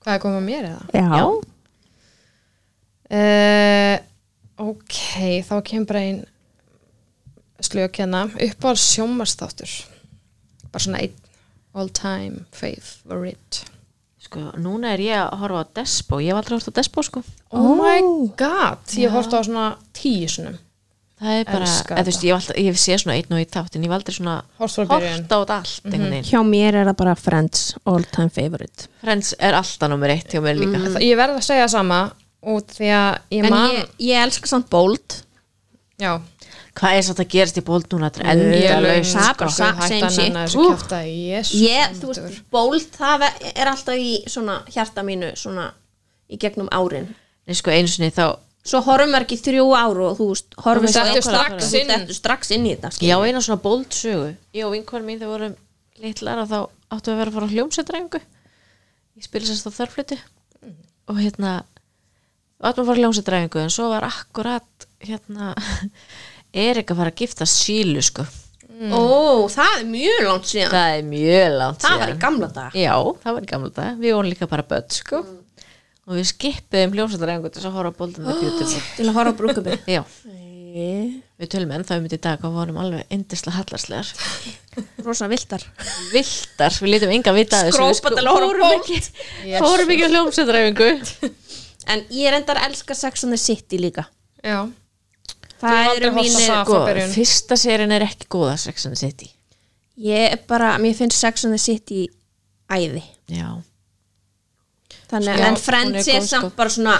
S2: Hvað er komið að mér eða?
S1: já,
S2: Uh, ok, þá kemur bara einn slök hérna upp á sjómarstáttur bara svona einn all time favorite
S1: sko, núna er ég að horfa á Despo ég hef aldrei horft á Despo sko
S2: Oh, my god, ég horfði á svona tíu sunum
S1: það er bara,
S2: Elska
S1: eða, þú veist, ég, hef alltaf, ég hef séð svona einn og einn þátt en ég hef aldrei svona
S2: Horft frá byrjun.
S1: horft á þetta allt einhvern veginn.
S4: Hjá mér er það bara Friends all time favorite.
S1: Friends er alltaf nummer eitt hjá mér líka
S2: Ég verð að segja sama út því að ég
S4: En
S2: man
S4: ég, ég elska samt Bold.
S2: Já,
S1: hvað er satt að gerast í bóld núna þetta er endalaus
S4: Það er bara
S1: sko.
S4: sa-
S2: hættan
S4: same shit.
S2: hann að þessu
S1: Úff.
S2: kjafta Jésu
S4: Ég, þú
S2: sandur.
S4: veist, Bold, það ve- er alltaf í svona hjarta mínu, svona í gegnum árin.
S1: Nei, sko, einu sinni þá
S4: Svo horfum við ekki í þrjú áru og þú veist, horfum
S2: Þú
S4: svo
S2: dettur
S4: eitthvað-
S2: strax
S4: þú
S2: inn.
S4: dettur strax inn í þetta. sko. skilur.
S1: Já, eina svona bold sögu Ég og vinkonu mín þau vorum litlar og þá áttum við að vera að fara á hljómsveitræfingu Ég spila sérst á þörflutu og hérna við áttum að fara á hljómsveitræfingu en svo var akkurat hérna Erik að fara að gifta sílu sko
S4: Mm. Ó, það er mjög langt síðan. Það,
S1: Það er mjög langt
S4: var í gamla dag.
S1: Já, það var í gamla dag Við vorum líka bara börn sko og við skippiðum hljómsveitræfingu til þess að horfa á boldum með YouTube
S4: Til að horfa á brúkubi.
S1: Já, við tölum ennþá um þetta í dag og vorum alveg yndislega hallarslegar
S4: Rosa viltar.
S1: viltar, við lítum enga vita af þessu. Við
S4: Skrópa til að horfa á
S1: fórum
S4: Bolt.
S1: ekki, fórum ekki á hljómsveitræfingu
S4: En ég reyndar að elska Sex and the City líka
S2: Já
S4: Það
S2: aldrei
S4: eru
S2: horft á
S4: mínir
S2: það.
S1: sko,
S2: frá byrjun.
S1: fyrsta serin er ekki góða Sex and the City
S4: Ég er bara, mér finnst Sex and the City æði
S1: já.
S4: Þannig,
S2: Já,
S4: En
S2: hún er
S4: Friends
S2: góð,
S4: er
S2: sko.
S4: samt bara svona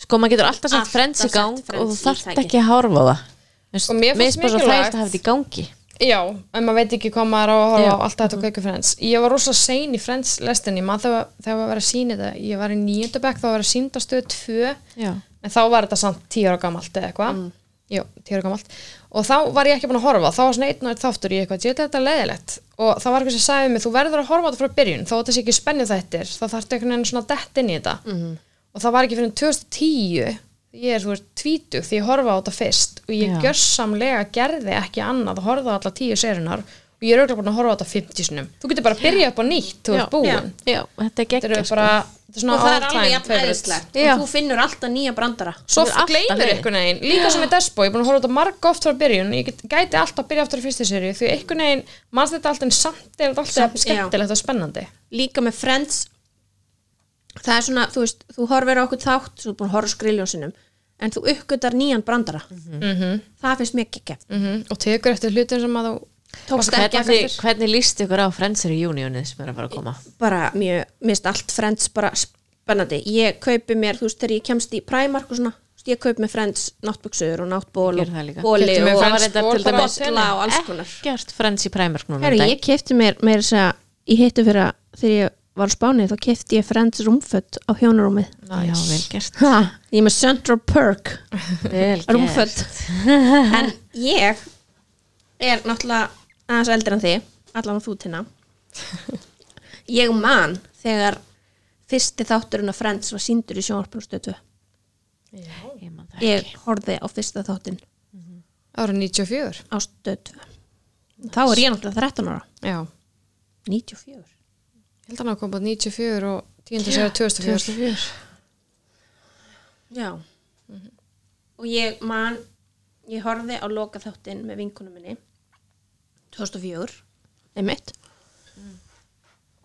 S1: sko, maður getur alltaf sett
S4: Alltaf
S1: frends í
S4: sett
S1: gang
S4: Friends
S1: og þú
S4: í
S1: þarft
S4: tæki.
S1: ekki að horfa á það
S2: Og mér fannst
S1: bara svo
S2: mikilvægt-
S1: þægilegt að hafa þetta í gangi
S2: Já, en maður veit ekki hvað maður á að horfa
S1: Já.
S2: á alltaf þetta og kveikja Friends. Ég var rosa sein í Friends lestinni, maður þegar, þegar var að vera að sína þetta. Ég var í nýjöndabæk, þá var að sínda stöð 2,
S1: já,
S2: en þá var þetta samt 10 ára gamalt eða eitthvað.
S4: Mm.
S2: Jú, 10 ára gamalt. Og þá var ég ekki búin að horfa, þá var svona einn og einn þáttur í eitthvað, ég veit þetta er leiðilegt. Og þá var eitthvað sem sagði mig, þú verður að horfa á þetta frá byrjun, þá þetta sé ekki spennið þættir, þá þarftu einhvern veginn svona dett inn í þetta.
S4: Mhm.
S2: Og það var ekki fyrir 2010, ég er þú veist tvítug því ég horfa á þetta fyrst og ég
S1: Já.
S2: gjörsamlega gerði ekki annað að horfa á alla tíu serunar og ég er auðvitað búin að horfa á þetta 50 sinum. Þú getur bara að byrja upp á nýtt, þú
S1: já,
S2: ert búin.
S1: já, þetta er sko.
S2: Þetta
S1: geggja
S2: eru bara, þetta er svona
S4: Og það er
S2: all-time
S4: alveg jafn
S2: favorites.
S4: æðislegt
S1: Já.
S4: Og Þú finnur alltaf nýja brandara
S2: Svo
S1: Þetta er alltaf
S2: gleymir
S1: leið.
S2: einhvern veginn, líka sem með Despo, ég er búin að horfa á þetta marg oft frá byrjun, ég get, gæti alltaf að byrja aftur í fyrstu serju því einhvern veginn, mannst þetta alltaf en samt er þetta
S4: Samt,
S2: alltaf
S4: já.
S2: skemmtilegt og spennandi.
S4: Líka með Friends Það er svona, þú veist, þú horfir á okkur þátt Svo er búin að horfa á skriljónsinum En þú uppgötar nýjan brandara
S2: Mhm.
S4: Það finnst mér ekki
S2: Mm Og tekur eftir hlutin sem að þú
S4: Tókst ekki að
S1: hvernig, hvernig líst ykkur á Friends reunionið sem er að fara að koma
S4: bara mjög, minnst allt Friends bara spennandi, ég kaupi mér þú veist þegar ég kemst í Primark og svona, Þú veist, ég kaup með Friends náttbuksur og náttból
S1: Gerðu það líka.
S4: og bóli
S2: Keyptu mér
S4: og
S2: Friends
S1: reyndar
S2: ból
S1: til
S2: bara á Eh.
S1: dæmis-
S2: selinu.
S4: bolla og alls konar
S1: Ekkert frends í um præmörknum
S3: Herru, ég kefti mér meira þess að ég hittu fyrir að þegar ég var á Spáni þá kefti ég Friends rúmfött á hjónarúmið
S1: Já, vel gert
S3: ha, ég er með Central Perk
S1: Vel gert
S3: rúmfött
S4: en ég er náttúrulega aðeins eldri en þið allan að þú tina ég man þegar fyrsti þátturinn af Friends var síndur í sjónvarpun stötu
S1: Ég man það
S4: ég horfði á fyrsta þáttinn
S2: ára 94
S4: á stötu þá er ég náttúrulega 13 ára
S2: já, ég
S4: 94
S2: held að hann hafi komið á 94 og 10. sér 2004
S1: 2004
S4: Já. Og ég man, ég horfði á loka þáttinn með vinkunum minni 2004, einmitt.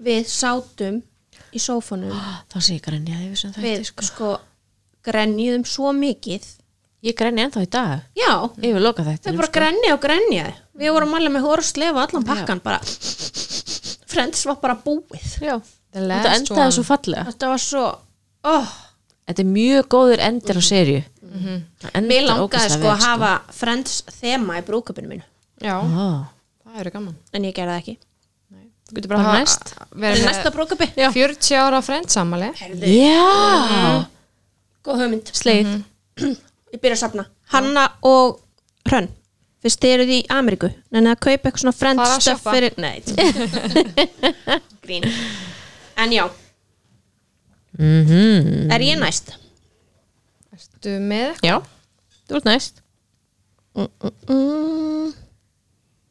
S4: Við sátum í sófanum
S1: Ah, Þá sé ég grenjaði við sem
S4: við
S1: þetta
S4: Ah, sko. grenjuðum svo mikið.
S1: Ég grenja ennþá í dag
S4: Já,
S1: Ég vil sko- loka
S4: þau
S1: þetta
S4: bara grenja og grenja. Við vorum alveg með horfslefa allan pakkan bara. Friends var bara búið.
S1: Já
S2: The
S1: Þetta
S2: last
S1: endaði
S2: one.
S1: svo fallega
S4: Þetta var svo, óh.
S1: Þetta er mjög góður endir á serju Mhm.
S4: Mér langaði sko að hafa Friends þema í brúkabinu mínu.
S2: já,
S1: hafa
S2: það eru gaman
S4: En ég gerði það ekki.
S2: þú getur bara
S1: Bara
S2: hafa-
S1: næst.
S4: Bara
S2: verið
S4: næsta
S2: með
S4: brúkabi.
S2: 40 ára frendsamali
S1: Já
S4: Góð hugmynd.
S1: Sleið
S4: Ég byrja að safna. Hanna og Hrönn. Fyrst þið eruð í Ameríku. Nenni að kaupa eitthvað svona friend
S2: Fara að
S4: stuff
S2: shoppa.
S4: fyrir... Nei. Grín. En já,
S1: Mhm.
S4: er ég næst?
S2: ertu með eitthvað?
S1: Já Þú ert næst
S4: Mm,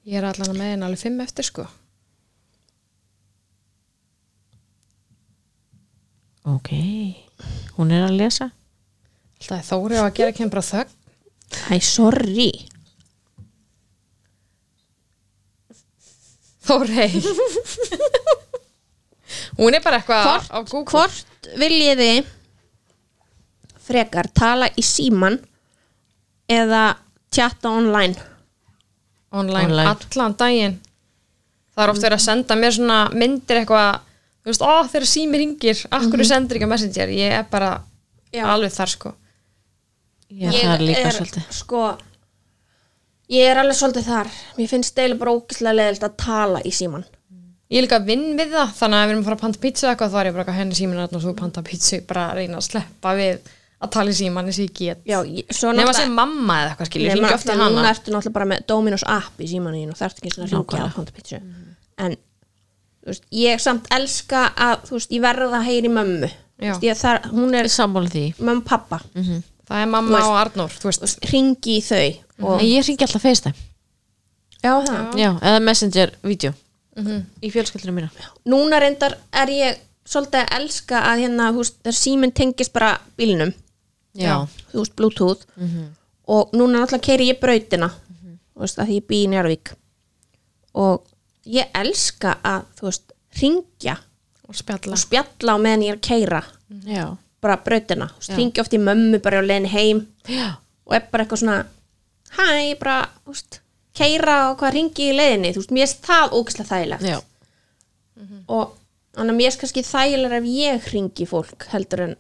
S2: ég er allan með einn alveg 5 eftir sko
S1: Ok Hún er að lesa
S2: alltaf er Þóri á að gera kemur bara þögn
S4: Æ, sorry.
S2: Þórei hún er bara eitthvað
S4: Hvort-
S2: á Google
S4: Hvort viljiði frekar tala í síman eða tjatta online?
S2: online,
S1: Online.
S2: allan daginn það er oft verið að senda mér svona myndir eitthvað þú veist, ó þegar sími ringir akkur mm -hmm. sendir ekki á messenger, ég er bara
S4: Mhm. Já.
S2: alveg þar sko
S1: Ég er þar líka svolítið
S4: sko ég er alveg svolítið þar mér finnst eiginlega bara ógislega leðilt að tala í síman
S2: ég er líka að vinn við það, þannig að ef við erum að fara að panta pizza eitthvað þá er ég bara að henni símin að þú panta pizza ég bara að reyna að sleppa við að tala í síman eins og ég get
S4: já, ég, svo
S2: nema að
S4: náttúrulega-
S2: segja mamma eða eitthvað skilur,
S4: Nema
S2: hringi oft í
S4: náttúrulega núna
S2: hana
S4: ertu náttúrulega bara með Dominos app í símanu þínu og þarft ekki svona að hringja á kontapítsu
S2: Mhm.
S4: en þú veist, ég samt elska að þú veist, ég verða að heyri mömmu Þú veist, ég þar, hún er
S1: Sammála því
S4: mömmu pappa
S2: Mhm.
S4: mm -hmm.
S2: það er mamma og Arnór, þú veist
S4: hringi í þau og,
S1: Nei, Ég ringi alltaf FaceTime
S4: já, það.
S1: Já, Mhm. eða Messenger-vídeó Í fjölskyldinu mína
S4: núna reyndar er ég svolítið að elska að hérna þú veist, þegar síminn tengist bara bílnum
S1: Já,
S4: þú veist, bluetooth
S2: Mhm.
S4: og núna náttúrulega keiri ég brautina þú veist, að því ég bý í Njárvík og ég elska að þú veist, ringja
S2: og spjalla
S4: og spjalla á meðan ég er að keira
S1: já,
S4: bara brautina, þú veist, ringja oft í mömmu bara á leiðin heim
S1: já.
S4: og er bara eitthvað svona hæ, bara, þú veist keira og hvað ringi í leiðinni þú veist, mér er það ógæslega þægilegt
S1: já.
S4: og þannig að mér er kannski þægilega ef ég ringi fólk heldur en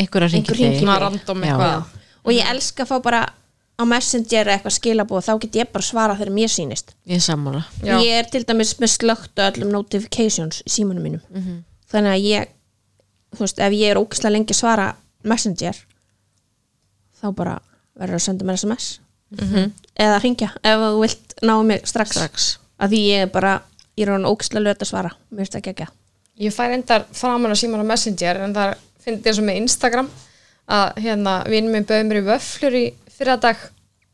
S1: Einhver að ringi
S4: Einhver hringi
S2: svona random eitthvað
S4: og ég elska að fá bara á messenger eða eitthvað skilabóð þá get ég bara svara þegar mér sýnist
S1: Ég er sammála
S2: Já.
S4: ég er til dæmis með slögt á öllum notifications í símanum mínum þannig að ég þú veist, ef ég er ógislega lengi að svara messenger þá bara verður að senda mér sms eða ringja ef þú vilt ná mig strax,
S1: Strax.
S4: að því ég er bara, ég er hann ógislega löt að svara mér finnst það ekki ekki
S2: Ég fær endar framan á síman á Messenger en það finnst ég svo með Instagram að hérna vinnum minn bauð mér í vöflur í fyrra dag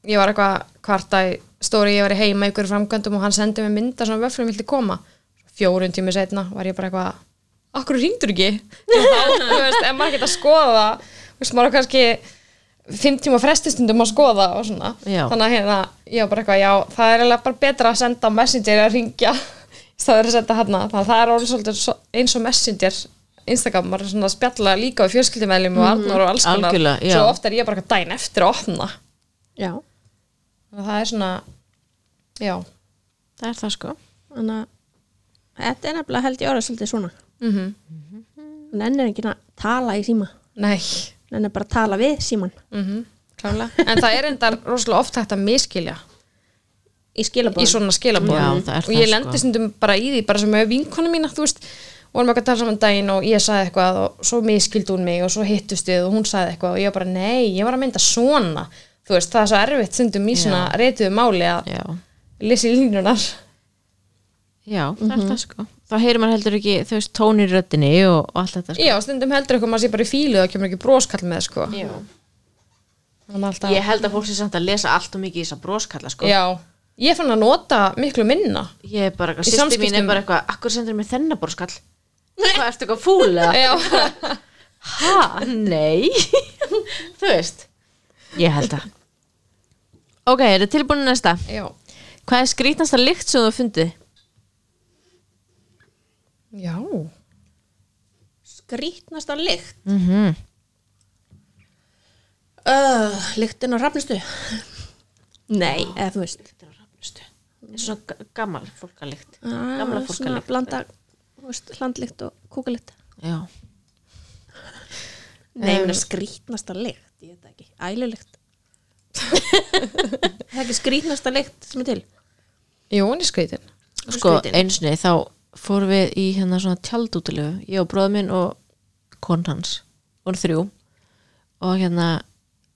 S2: ég var eitthvað kvarta í stóri ég var í heima ykkur framgöndum og hann sendi mér mynda svona vöflur vildi koma fjórun tími setna var ég bara eitthvað okkur hringdur ekki þá, þú veist, en maður geta að skoða þú veist, maður á kannski fimm tíma frestistundum að skoða og svona
S1: Já.
S2: þannig að hérna, ég var bara eitthvað já, það er eiginlega bara betra að senda á messenger að ringja í staður að senda hérna þannig að það er orðið svolítið svo- eins og messenger Instagram, maður er svona að spjalla líka við fjölskyldumeðlum og Arnur og alls konar
S1: Mhm, Algjörlega, já.
S2: svo ofta er ég bara eitthvað dæn eftir að opna
S4: já,
S2: þannig að það er svona já,
S1: Það er það sko
S4: þannig að þetta er
S1: Mhm.
S4: nefnilega held ég orða svolítið svona
S2: mhm,
S4: hún ennir ekki að tala í síma
S2: nei
S3: nenni bara að tala við síman
S2: mm klálega en það er enda rosalega oft hægt að miskilja
S4: í skilabóðum
S2: í svona skilabóðum
S1: Já, það er
S2: og
S1: það,
S2: ég
S1: sko.
S2: lendi stundum bara í því bara sem með vinkonu mína, þú veist vorum ekki að tala saman um daginn og ég sagði eitthvað og svo miskildi hún mig og svo hittust við og hún sagði eitthvað og ég var bara nei, ég var að mynda svona þú veist, það er svo erfitt stundum í svona reytuðu máli að
S1: já,
S2: lýsa línunar
S1: já það er það sko þá heyrir maður heldur ekki, þú veist, tónir röddinni og, og allt þetta sko.
S2: já, stundum heldur eitthvað maður sé bara í fílu það kemur ekki broskall með sko Þannig alltaf,
S1: ég held að fólk sé samt að lesa allt og mikið í þess að broskalla sko
S2: já, ég fann að nota miklu minna
S1: ég er bara,
S2: Í
S1: sýsti mín er
S2: samskiptum.
S1: bara eitthvað akkur sendur mér þennan broskall hvað ertu eitthvað fúla
S2: já,
S1: ha, nei þú veist ég held að ok, er þetta tilbúin í næsta
S2: já,
S1: hvað er skrítnasta lykt sem þú hefur fundið?
S2: já.
S4: skrítnasta lykt
S1: Mm -hmm.
S4: uh, lyktin á rafnistu nei, eða þú veist
S1: svona g- gammal fólkalykt
S4: gamla
S1: Gamla
S4: svona
S1: fólkalykt.
S4: blanda þú veist, hlandlykt og kúkalykt
S1: já,
S4: nei, um, skrítnasta lykt, ég veit það ekki ælulykt það er ekki skrítnasta lykt sem er til
S2: jú, hún er skreitin
S1: sko
S4: Skrýtin.
S1: einsni þá fórum við í hérna svona tjaldútilegu ég og bróður minn og kon hans og þrjú og hérna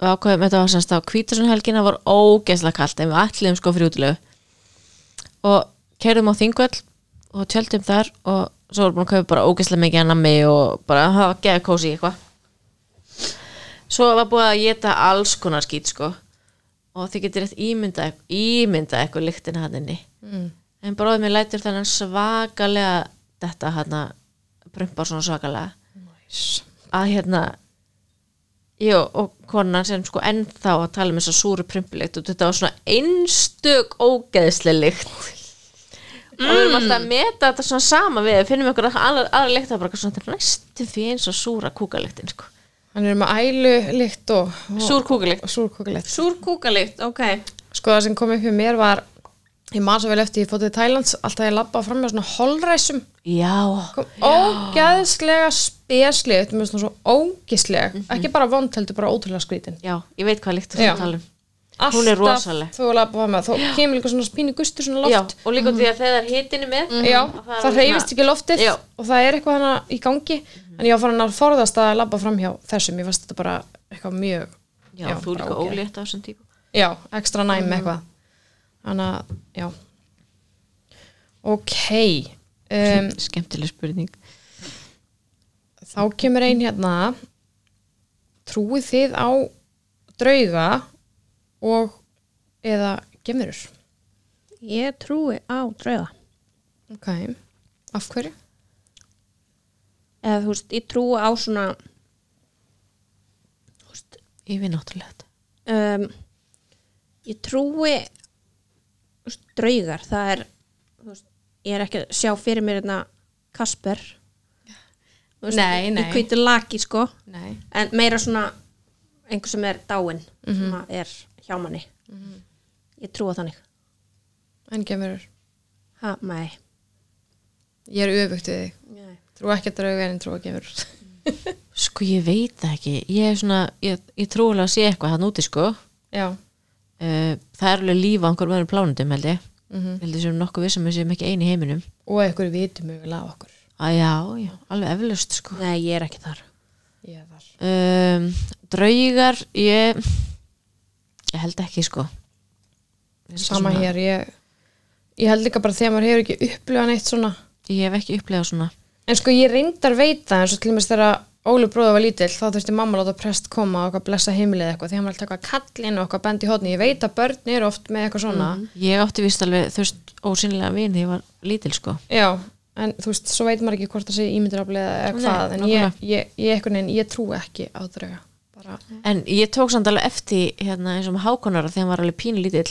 S1: við ákveðum þetta var semst á kvítasunhelgina var ógeðslega kalt en við ætliðum sko fyrir útilegu og kerðum á þingvöll og tjöldum þar og svo vorum við búin að kaupa bara ógeðslega mikið annami og bara hafa geða kósi eitthvað svo var búið að geta alls konar skýt sko og þið getur rétt ímynda ímynda eitthvað lyktin hann inni mm. en bróðið mér lætur þannig svakalega þetta hann prumpar svona svakalega
S2: nice.
S1: að hérna Jó, og konan sem sko ennþá að tala um þess að súru prumpulikt og þetta var svona einstök ógeðslega lykt og við erum
S2: Mm.
S1: alltaf að meta þetta svona sama við finnum ykkur aðra, aðra lykt að bara eitthvað svona þetta er næstu því eins og súra kúkaliktin sko.
S2: hann er með ælu, lykt og, og
S1: súr kúkalikt
S2: súrkokulegt
S4: súr kúkalykt, ok
S2: sko það sem kom upp hjá mér var ég man svo vel eftir ég fótið í Tælands alltaf ég labbaði fram með svona holræsum
S1: já,
S2: kom ógeðslega spesliðt með svona svo ógeðslega
S1: Mhm.
S2: ekki bara vond heldur bara ótrúlega skrítin
S1: já, ég veit hvað líkt þú
S2: Já.
S1: ert að tala um Hún er rosaleg.
S2: þú er labbaði með þá kemur líka svona spínu gustur svona
S1: já,
S2: loft Mm.
S1: og líka því að þegar hitinu með
S2: já,
S1: að
S2: það,
S1: er
S2: reyfist
S1: svona-
S2: ekki loftið
S1: Já. Mhm.
S2: og það er eitthvað hana í gangi en ég var farin að forðast að labba fram hjá þessum ég fannst þetta bara eitthvað mjög
S1: já, þú er
S2: bara
S1: líka
S2: ógeð.
S1: ólétt á þessum típu
S2: Já, ekstra næm eitthvað Þannig að, já Ok um,
S1: skemmtileg spurning
S2: Þá kemur ein hérna Trúið þið á drauga og eða gemurur
S3: ég trúi á drauga
S2: Ok, af hverju?
S4: eða þú veist, ég trúi á svona þú veist
S1: yfir náttúrulega
S4: um, ég trúi þú veist, draugar það er þú veist, ég er ekki að sjá fyrir mér hérna Kasper Þú veist,
S2: Nei,
S4: í-
S2: nei.
S4: í hvítu laki sko
S2: Nei
S4: en meira svona einhver sem er dáinn sem að er hjá manni ég trúi á þannig
S2: En gemurur,
S4: ha, nei,
S2: ég er öfugt við þig
S4: nei.
S2: Trú ekki að drauga en trú að gemurur
S1: sko ég veit það ekki ég er svona, ég, ég trúlega sé eitthvað hann úti sko
S2: Já,
S1: Eh, það er alveg lífa einhver öðrum plánutum held ég held ég sem nokkuð vissum við sem ekki eini í heiminum
S2: Mhm. og eitthvað vitum mögulega af okkur
S1: að já, já, alveg eflust sko
S4: nei, ég er ekki þar
S2: Ég er þar
S1: um, draugar ég ég held ekki sko Ég er
S2: Sama
S1: svona-
S2: hér, ég Ég held líka bara þegar maður hefur ekki upplifað neitt svona
S1: ég hef ekki upplegað svona
S2: En sko ég reyndar veit það eins og til mér þegar Óli bróður var lítill þá þurfti mamma að láta prest koma og eitthvað blessa heimilið eitthvað því hann var alltaf eitthvað kallinn og eitthvað bend í hodni ég veit að börn eru oft með eitthvað svona
S1: ég átti vist alveg þú veist ósynlega vin þegar ég var lítil sko
S2: já, en þú veist, svo veit maður ekki hvort það sé ímyndiraflið eða hvað en ég, ég, ég, einhvern veginn, ég trú ekki á drauga bara,
S1: en ég tók samt alveg eftir hérna eins og með hákonara þegar hann var alveg pínlítill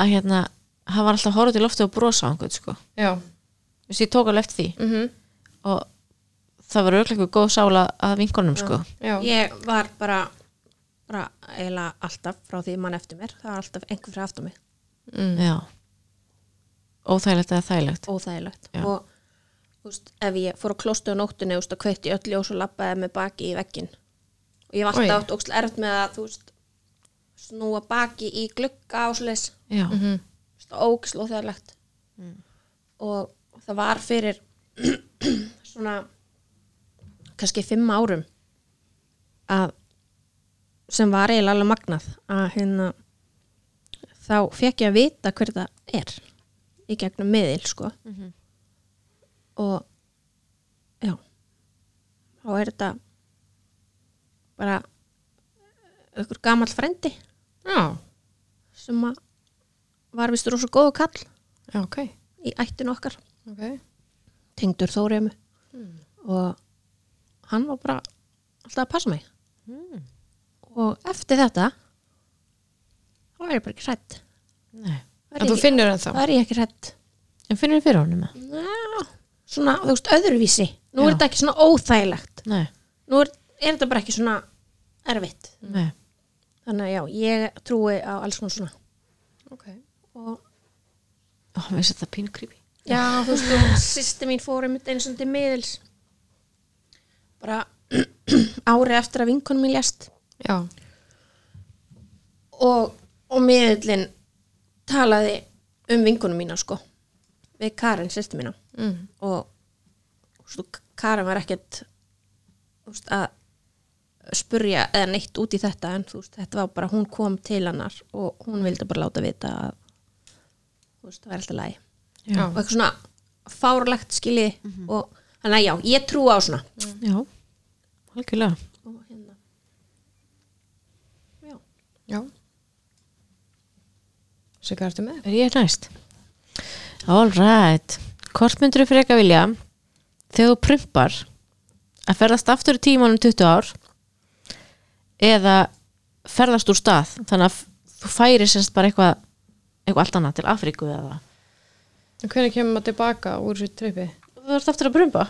S1: að hérna hann var alltaf að horfa til lofti og brosa á einhvern sko
S2: já,
S1: þú veist ég tók alveg eftir því
S2: mhm
S1: og það var auðvitað góð sála að vinkonum sko
S2: já,
S4: ég var bara bara eiginlega alltaf frá því mann eftir mér það var alltaf einhver fyrir aftur mig
S2: mm.
S1: já óþægilegt eða þægilegt
S4: óþægilegt og þú veist, ef ég fór á klostu á nóttinni þú veist, að kveitti öll ljós og labbaði með baki í veggin og ég hef
S2: Oj.
S4: alltaf átt ókslega erft með að þú veist snúa baki í glugga ásleis
S1: já,
S2: Mhm.
S4: ókslega óþægilegt og það var fyrir svona kannski fimm árum að sem var eiginlega alveg magnað að hérna þá fekk ég að vita hver það er í gegnum miðil sko og já þá er þetta bara ykkur gamall frendi
S2: Já,
S4: sem að var vist rosa góðu kall
S2: já, ok,
S4: í ættinu okkar
S2: ok
S4: tengdur Þóremu
S2: Hmm.
S4: og hann var bara alltaf að passa mig
S2: Hmm.
S4: og eftir þetta þá er ég bara ekki hrætt
S1: nei
S2: Að þú finnur það
S4: þá
S2: þá
S4: er ég ekki hrætt
S1: en finnum við fyrir honum eða?
S4: svona, þú veist, öðruvísi nú
S1: Já.
S4: er þetta ekki svona óþægilegt
S1: nei,
S2: Mm.
S4: nú er, er þetta bara ekki svona erfitt
S1: nei,
S4: þannig að já, ég trúi á alls konar svona
S2: okay.
S4: og
S1: ó, mér finnst þetta pínu creepy
S4: Já, þú veist, og sýsti mín fór einmitt einu svona til miðils bara ári eftir að vinkonum mín lést
S2: Já,
S4: og, og miðillin talaði um vinkonum mína sko við Karen, sýsti mína
S2: mm.
S4: og þú veist, og Karen var ekkert þú veist, að spurja eða neitt út í þetta en þú veist, þetta var bara, hún kom til hennar og hún vildi bara láta vita að þú veist, það var alltaf lægi
S2: já,
S4: og eitthvað svona fárlegt skilji og þannig að já, ég trú á svona
S1: já, algjörlega
S4: og hérna já,
S2: já Svo hvað ertu með?
S1: er ég næst all right hvort myndur þú freka vilja þegar þú prumpar að ferðast aftur í tímanum 20 ár eða ferðast úr stað þannig að þú færi sérst bara eitthvað eitthvað allt annað til Afríku eða
S2: Hvernig kemur maður tilbaka úr þessu trippi?
S1: þú ert aftur að prumpa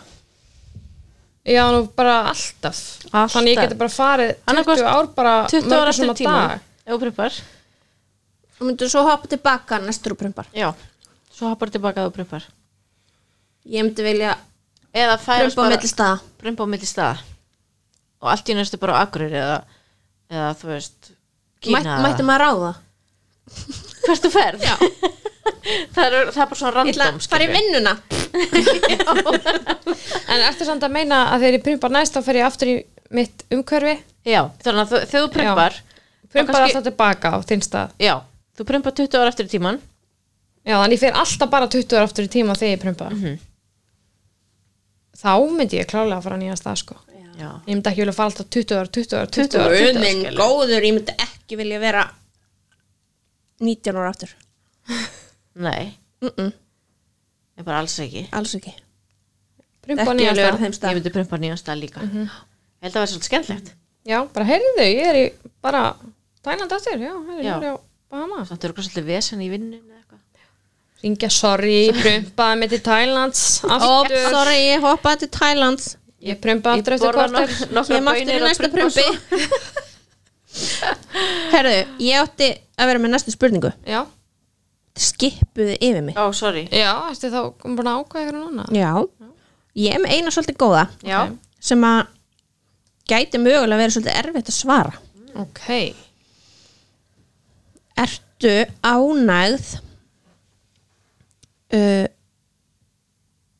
S2: Já, nú bara alltaf,
S1: Alltaf.
S2: Þannig ég geti bara farið 20
S1: Annarkvort
S2: ár bara
S1: 20
S2: mörgum
S1: ára eftir
S2: svona
S1: tímanum
S2: dag.
S1: ef þú prumpar
S4: og myndur svo hoppa tilbaka næstur og prumpar
S1: já svo hoppar tilbaka að þú prumpar
S4: ég myndi vilja
S1: eða færast
S4: prumpa á milli
S1: bara
S4: staða
S1: prumpa á milli stað og allt í næstu bara á Akureyri eða, eða þú veist Kína
S4: Mætt,
S1: eða-
S4: mætti maður ráða
S1: hvert þú ferð
S4: Já.
S1: það, er, það er bara svona
S4: ég ætla
S1: random
S4: að fara í
S1: skilurðu.
S4: vinnuna
S2: En ertu samt að meina að þegar ég prumpar næst þá fer ég aftur í mitt umhverfi
S1: já, þannig að þú- þegar þú prumpar
S2: prumpar
S1: kannski-
S2: alltaf tilbaka á þinn stað
S1: já, þú prumpar 20 ára eftir í tíman
S2: Já, þannig ég fer alltaf bara 20 ára aftur í tíma þegar ég prumpa
S1: Mhm.
S2: Þá myndi ég klálega að fara á nýja stað sko
S1: já,
S2: Ég myndi ekki vilja fara alltaf 20 ára, 20 ára, 20 ára, 20
S4: Guð
S2: ára
S4: minn góður, ég myndi ekki vilja vera 19 ára aftur
S1: nei,
S4: mm -mm,
S1: ég bara alls ekki
S4: alls ekki
S2: Prumpa á
S4: Ekki
S2: nýja
S4: vilja vera
S2: stað
S4: þeim
S1: sko. ég
S4: stað
S1: myndi prumpa nýjan stað líka mm ég held að það var svolítið skemmtlegt
S2: Já, bara heyrðu, ég er í bara Tælandi aftur, já, heyrðu,
S1: Já.
S2: ég er á Bahamas
S1: þannig að þú eru svolítið vesen í vinnun eða eitthvað
S2: Ringja, sorry, ég prumpaði mig til Tælands
S4: oh,
S2: aftur
S4: sorry, ég hoppaði til Thailands
S2: Ég prumpa aftur
S1: ég borða
S2: eftir kortir
S1: nok
S4: kem
S1: nokkra
S4: aftur í
S1: bænir og
S4: næsta
S1: prumpa
S4: prumpi
S1: svo
S4: Herðu, ég átti að vera með næstu spurningu
S2: Já,
S4: Skipuðu yfir mig
S1: ó, sorry,
S2: já, ertu þá búin að ákvæða ykkur núna?
S4: Já, ég er með eina svolítið góða
S1: já,
S4: sem að gæti mögulega verið svolítið erfitt að svara
S2: Ok,
S4: Ertu ánægð uh,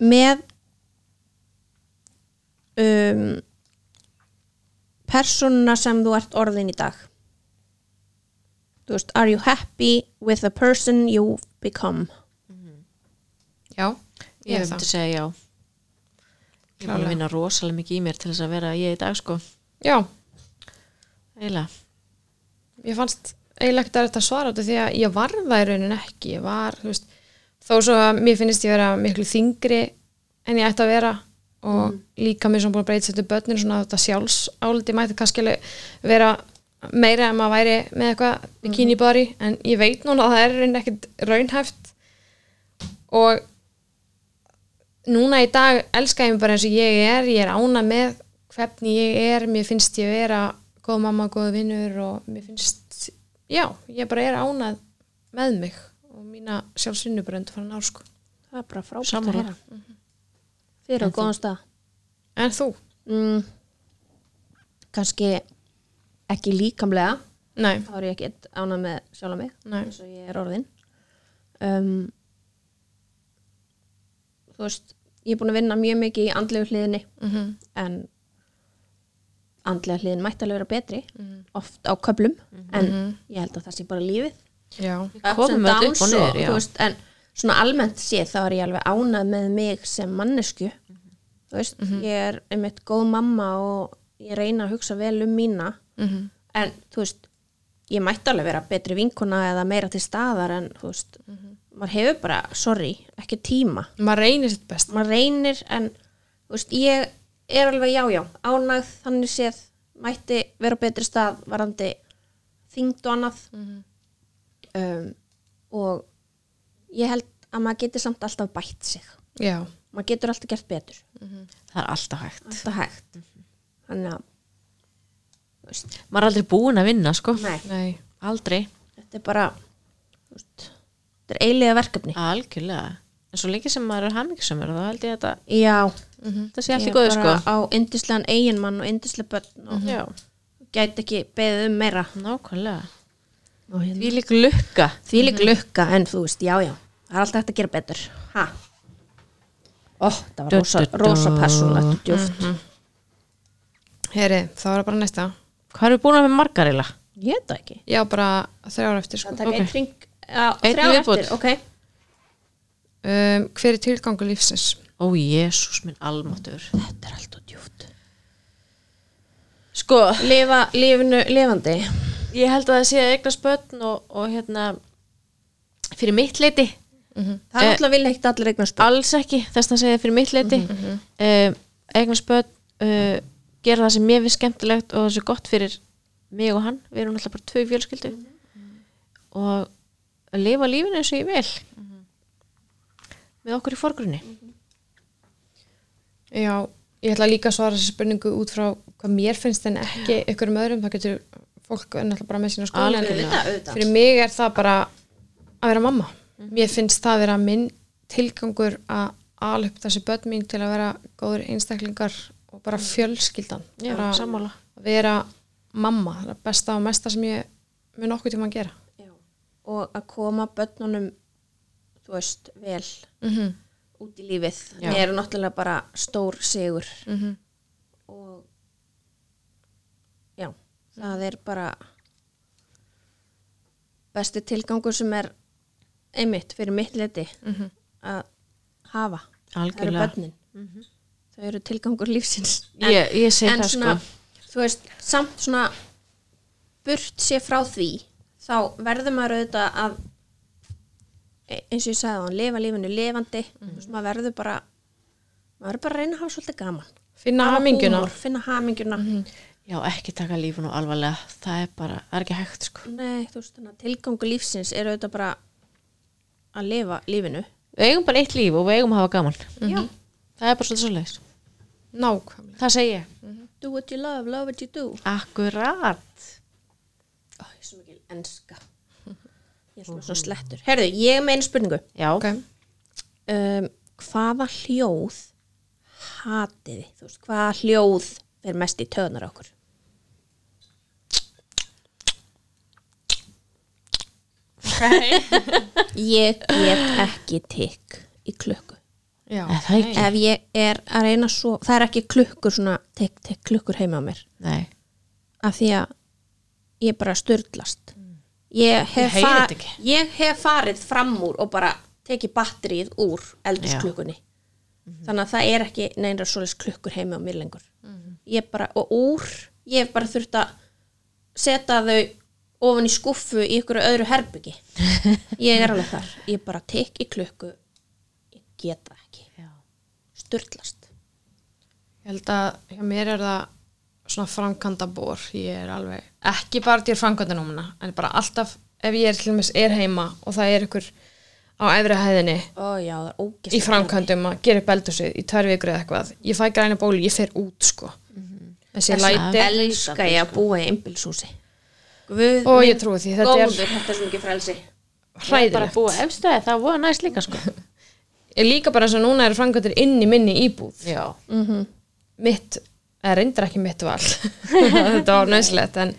S4: með um, persónuna sem þú ert orðin í dag? Þú veist, are you happy with the person you've become?
S2: já, ég
S1: ég
S2: er það
S1: myndi segja já ég er búin að vinna rosalega mikið í mér til þess að vera ég í dag sko
S2: Já,
S1: eiginlega,
S2: ég fannst eiginlega ekkert að þetta svara þetta því að ég var það í raunin ekki ég var, þú veist, þó svo að mér finnist ég vera miklu þingri en ég ætti að vera og líka mér sem búin að breyta þetta börnin svona að þetta sjálfsáldi mætti kannski alveg vera meira en maður væri með eitthvað bikini body en ég veit núna að það er í rauninni ekkert raunhæft og núna í dag elska ég mig bara eins og ég er ég er ána með hvernig ég er mér finnst ég vera góð mamma, góð vinnur og mér finnst já, ég bara er ánað með mig og mína sjálfsvinnubrönd fara ná sko.
S4: Það er bara frábært
S1: Sammála.
S4: að heyra. Fyrir á góðan stað.
S2: En þú?
S4: Mm, kannski ekki líkamlega
S2: Nei,
S4: þá er ég ekkert ánað með sjálf mig
S2: Nei.
S4: eins og ég er orðin um, þú veist ég er búin að vinna mjög mikið í andlegu hliðinni -hmm.
S2: Mhm.
S4: en andlega hliðin mætti alveg vera betri oft á köplum en ég held að það sé bara lífið
S2: já,
S4: ups
S1: komum
S4: and
S1: öll upp
S4: downs
S1: og niður, já.
S4: þú veist, en svona almennt séð þá er ég alveg ánað með mig sem mannesku þú veist,
S1: Mhm.
S4: ég er einmitt góð mamma og ég reyna að hugsa vel um mína
S1: Mhm.
S4: -hmm. en þú veist ég mætti alveg vera betri vinkona eða meira til staðar en þú veist
S1: Mhm.
S4: maður hefur bara, sorry, ekki tíma
S2: maður reynir sitt best
S4: maður reynir en þú veist, ég er alveg já, já, ánægð þannig séð, mætti vera á betri stað varandi þyngd og annað um, og ég held að maður getur samt alltaf bætt sig
S2: Já,
S4: maður getur alltaf gert betur
S1: það er alltaf hægt
S4: alltaf hægt þannig að þú veist,
S1: maður er aldrei búin að vinna sko
S4: nei,
S2: nei,
S1: aldrei,
S4: þetta er bara þú veist, þetta er eiliga verkefni
S1: algjörlega en svo lengi sem maður er hammingisamur þá held ég að þetta,
S4: já,
S1: þetta sé
S4: ég
S1: allt í
S4: er
S1: góðu sko
S4: bara á yndislegan eiginmann og yndislega börn og
S1: já,
S4: gæti ekki beðið um meira
S1: nákvæmlega
S4: og hérna
S1: Mhm. því lík lukka
S4: því lík lukka en þú veist, já, já, það er alltaf hægt að gera betur ha ó, það var
S1: Du,
S4: rosa,
S1: du, du. Mm-hmm.
S4: rosa persónulegt og djúft
S2: heyri, þá er það bara næsta
S1: hvað erum við búin að með margar eila?
S4: ég veit það ekki,
S2: Já, bara þrjár eftir sko
S4: það taka
S1: Ok.
S4: okay. einn ring á,
S1: Einn
S4: þrjá
S1: viðbót.
S4: eftir, ok
S2: um, Hver er tilgangu lífsins?
S1: ó jésús minn almáttur
S4: þetta er alltaf djúft
S1: sko,
S4: lifa lífinu lifandi
S1: ég held að það sé að eignast börn og, og hérna fyrir mitt leiti, Eh.
S4: það er alltaf vilja ekkert allir eignar spil
S1: alls ekki þess að segja fyrir mitt leiti mm
S4: Mhm,
S1: -hmm. eignast börn uh, gera það sem mér finnst skemmtilegt og það sem er gott fyrir mig og hann, við erum alltaf bara tvö í fjölskyldu og að lifa lífinu eins og ég vil með okkur í forgrunni
S2: Já, ég ætla líka að svara þessi spurningu út frá hvað mér finnst en ekki ykkur um öðrum, það getur fólk er náttúrulega bara með sína skoðun en
S4: Auðvitað, auðvitað.
S2: fyrir mig er það bara að vera mamma mér finnst það vera minn tilgangur að ala upp þessi börn mín til að vera góður einstaklingar og bara fjölskyldan
S1: Já,
S2: bara
S1: sammála.
S2: að vera mamma, það er besta og mesta sem ég mun okkur tíma að gera
S4: og að koma börnunum þú veist, vel
S2: -hmm.
S4: út í lífið
S1: Mhm. Já.
S4: það eru náttúrulega bara stór sigur
S2: Mhm.
S4: og já, það er bara besti tilgangur sem er einmitt fyrir mitt leti að hafa það
S1: Mhm.
S4: eru
S1: Algjörlega.
S4: börnin þau eru tilgangur lífsins
S1: Ég- ég segi
S4: en
S1: það,
S4: svona,
S1: sko.
S4: þú veist, samt svona burt sé frá því þá verður maður auðvitað að e- eins og ég sagði á hann, lifa lífinu lifandi
S1: Mhm.
S4: þú veist, maður verður bara maður er bara að reyna að hafa svolítið gaman
S2: finna
S4: Hafa
S2: haminguna
S4: húmor, finna haminguna
S1: Mhm. já, ekki taka lífinu alvarlega það er bara, það er ekki hægt sko
S4: nei, þú veist, þannig að tilgangu lífsins er auðvitað bara að lifa lífinu
S1: við eigum bara eitt líf og við eigum að hafa gaman
S4: já,
S1: það er bara svolítið svolítið
S2: nákvæmlega
S1: það segi ég,
S4: do what you love, love what you do
S1: akkurat
S4: Ó, ég er svo mikil enska ég er svona
S1: Mhm.
S4: svona slettur herðu, ég er með einu spurningu
S1: já,
S2: okay.
S4: um, hvaða hljóð hatið þið, þú veist, hvaða hljóð er mest í töðnar okkur ég get ekki tikk í klukku
S2: Já,
S1: Er það ekki?
S4: ef ég er að reyna svo það er ekki klukkur svona tikk, tikk, klukkur heima á mér
S1: nei
S4: af því að ég bara störtlast ég, hef
S1: Ég heyri
S4: fa-
S1: þetta ekki.
S4: ég hef farið fram úr og bara tekið batterið úr eldisklukkunni þannig að það er ekki neina svoleiðs klukkur heima á mér lengur ég bara, og úr ég hef bara þurft að setja þau ofan í skuffu í ykkur öðru herbyggi ég er alveg þar, ég bara tek í klukku ég get það ekki
S1: já.
S4: störtlast
S2: Ég held að hjá mér er það svona framkanda bor, ég er alveg ekki bara til framkandanúmuna, en bara alltaf ef ég er til dæmis er heima og það er ykkur á efri hæðinni
S4: ó já, það er ógæst
S2: í framkandum að gera upp eldhúsið í tvær vikur eða eitthvað, ég fæ græna bólu, ég fer út sko, þessi læti
S4: elska ég að búa í einbilshúsi Guð
S2: og
S4: minn
S2: ég trúi því, þetta
S4: góður, þetta er svo mikið frelsi
S2: er
S1: bara
S2: hræðilegt
S1: búa efstöði, það voru næst líka sko
S2: ég líka bara þess að núna eru framkandur inn í minni íbúð
S1: já,
S2: mitt eða reyndar ekki mitt val þetta var nöðslegt en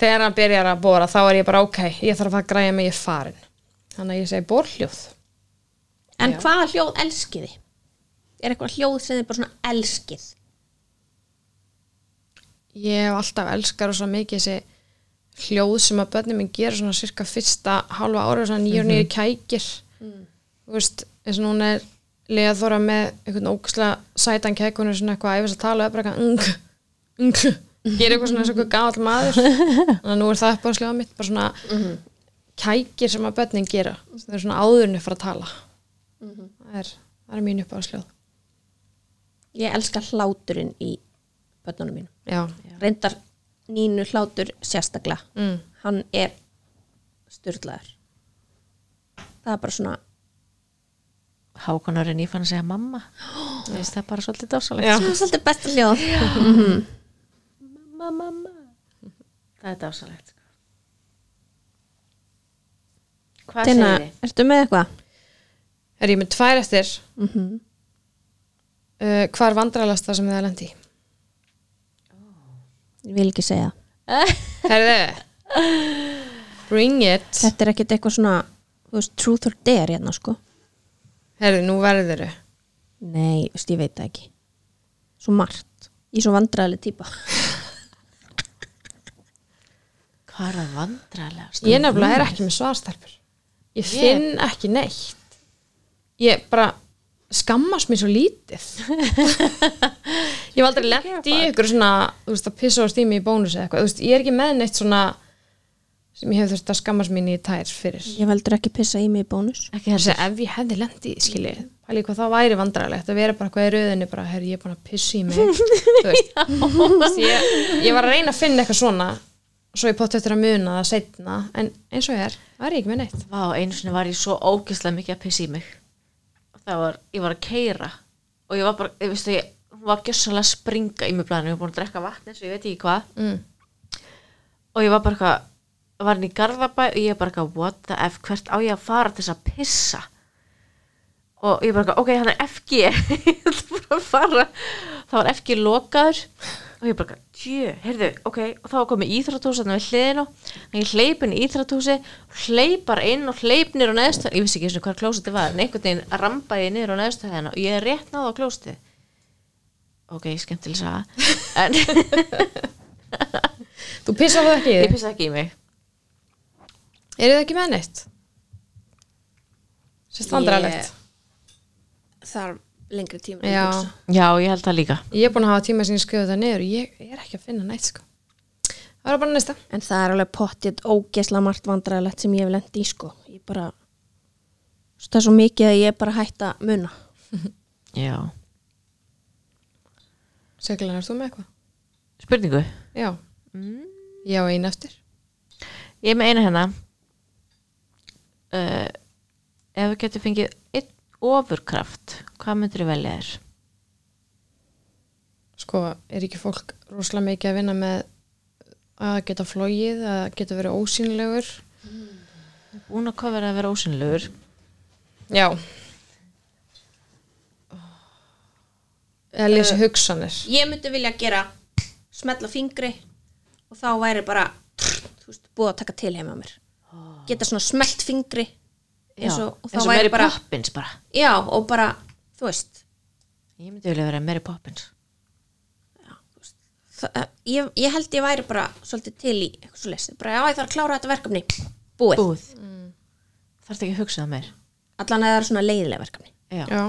S2: þegar hann byrjar að bóra þá er ég bara ok, ég þarf að græja mig ég er farin þannig að ég segi borhljóð
S4: En hvaða hljóð elskið þið? Er eitthvað hljóð sem þið bara svona elskið?
S2: ég hef alltaf elskar og svo mikið þessi hljóð sem að börnum minn gera svona cirka fyrsta hálfa ára svona nýjur nýjur kækir þú veist, eins og núna er Lea Þóra með einhvern ógæsla sætan kæk hún er svona eitthvað æfis að tala og er bara eitthvað ung, ung gera eitthvað svona eins og eitthvað gáall maður þannig að nú er það upp á sljóða mitt bara svona kækir sem að börnin gera það er svona áðurinu fyrir að tala það, er, það er mín upp á sljóð
S4: Ég elska hláturinn í börnunum mínum.
S2: já,
S4: Reyndar nínu hlátur sérstaklega.
S2: mm.
S4: Hann er styrlaður. Það er bara svona,
S1: Hákonarinn ég fann að segja mamma Þú veist, það er bara svolítið dásalegt
S2: Já.
S4: það er svolítið besta hljóð.
S1: mamma, mamma það er dásalegt sko. hvað
S3: Tina,
S1: segir þið?
S3: ertu með eitthvað?
S2: er ég með tvær eftir uh, hvað er vandralasta sem það er lendi í
S4: Ég vil ekki segja.
S2: Herðu Bring it
S4: Þetta er ekkit eitthvað svona, þú veist, truth or dare hérna, sko.
S2: Herðu, nú verður
S4: Nei, þú veist, ég veit það ekki. Svo margt. Ég er svo vandræðileg típa.
S1: hvað er það vandralega
S2: Ég nefnilega er ekki með svarstelpur Ég finn ekki neitt Ég bara skammast mér svo lítið Ég hef aldrei lent í ykkur svona þú veist að pissa á stími í bónus eða eitthvað þú veist, ég er ekki með neitt svona sem ég hef þurft að skammast mín í tær fyrir
S4: Ég veldur ekki pissa í mig í bónus.
S1: ekki
S2: Þessi, ef ég hefði lent í, skilji, pæli hvað það væri vandræðilegt að vera bara hvað í rauðinni bara, herri, ég er búin að pissi í mig þú veist Þessi, ég, ég var að reyna að finna eitthvað svona svo ég pottu eftir að muna það setna en eins og ég er, það er ég ekki með neitt
S1: Vá, einu sinni var ég svo ógeðslega mikið að pissa í mig og það var, ég var að keira og ég var bara, ég veistu, ég hún var gjössalega að springa í mig blæðinu ég var búin að drekka vatn eins og ég veit ekki hvað
S2: mm.
S1: og ég var bara eitthvað, var hann í Garðabæ og ég bara eitthvað, what the f, hvert á ég að fara til þess að pissa og ég bara eitthvað, ok, hann er FG ég ætla bara að fara þá var FG lokaður og ég bara eitthvað, tjö, heyrðu, ok og þá var komið íþróttús þannig við hliðinu og ég hleyp inn í íþróttúsi hleypar inn og hleyp niður á neðstöð ég vissi ekki einu sinni hvar klósiti var, en einhvern veginn rambaði ég niður á neðstöð hennar og ég er rétt náða á klósiti ok, skemmtileg saga en
S2: Þú pissar það ekki í
S1: ég
S2: þig?
S1: pissa ekki í mig
S2: Er það ekki með neitt? Sérst vandræðilegt
S4: Þarf lengri tíma.
S2: Já,
S1: já, ég held það líka
S2: ég er búin að hafa tíma sem ég skrifa það niður ég, ég er ekki að finna neitt sko Það er bara næsta
S4: En það er alveg pottið ógesla margt vandræðilegt sem ég hef lent í sko. Ég bara, svo það er svo mikið að ég er bara hætt að muna.
S1: Já.
S2: Seglan, er þú með eitthvað?
S1: Spurningu?
S2: Já,
S1: Mm.
S2: ég á einu eftir
S1: Ég er með eina hérna. Uh, ef við getum fengið einn ofurkraft, hvað myndir velja þér?
S2: sko, er ekki fólk rosalega mikið að vinna með að geta flogið, að geta verið ósýnilegur
S1: Búin að hvað verða að vera ósynlegur?
S2: já eða lesa hugsanir
S4: Ég myndi vilja gera smetla fingri og þá væri bara, þú veist, búið að taka til heima á mér. Geta svona smelt fingri eins og, og þá
S1: eins og
S4: væri
S1: Mary
S4: bara,
S1: Poppins bara.
S4: já og bara, þú veist,
S1: Ég myndi velja vera Mary Poppins.
S4: það, ég, ég held ég væri bara svolítið til í eitthvað svo lesið. Bara, já, ég þarf að klára þetta verkefni. Búið.
S1: Búð. Mm. Þarftu ekki að hugsa það meir.
S4: Allan að það er svona leiðilega verkefni.
S1: Já.
S2: já,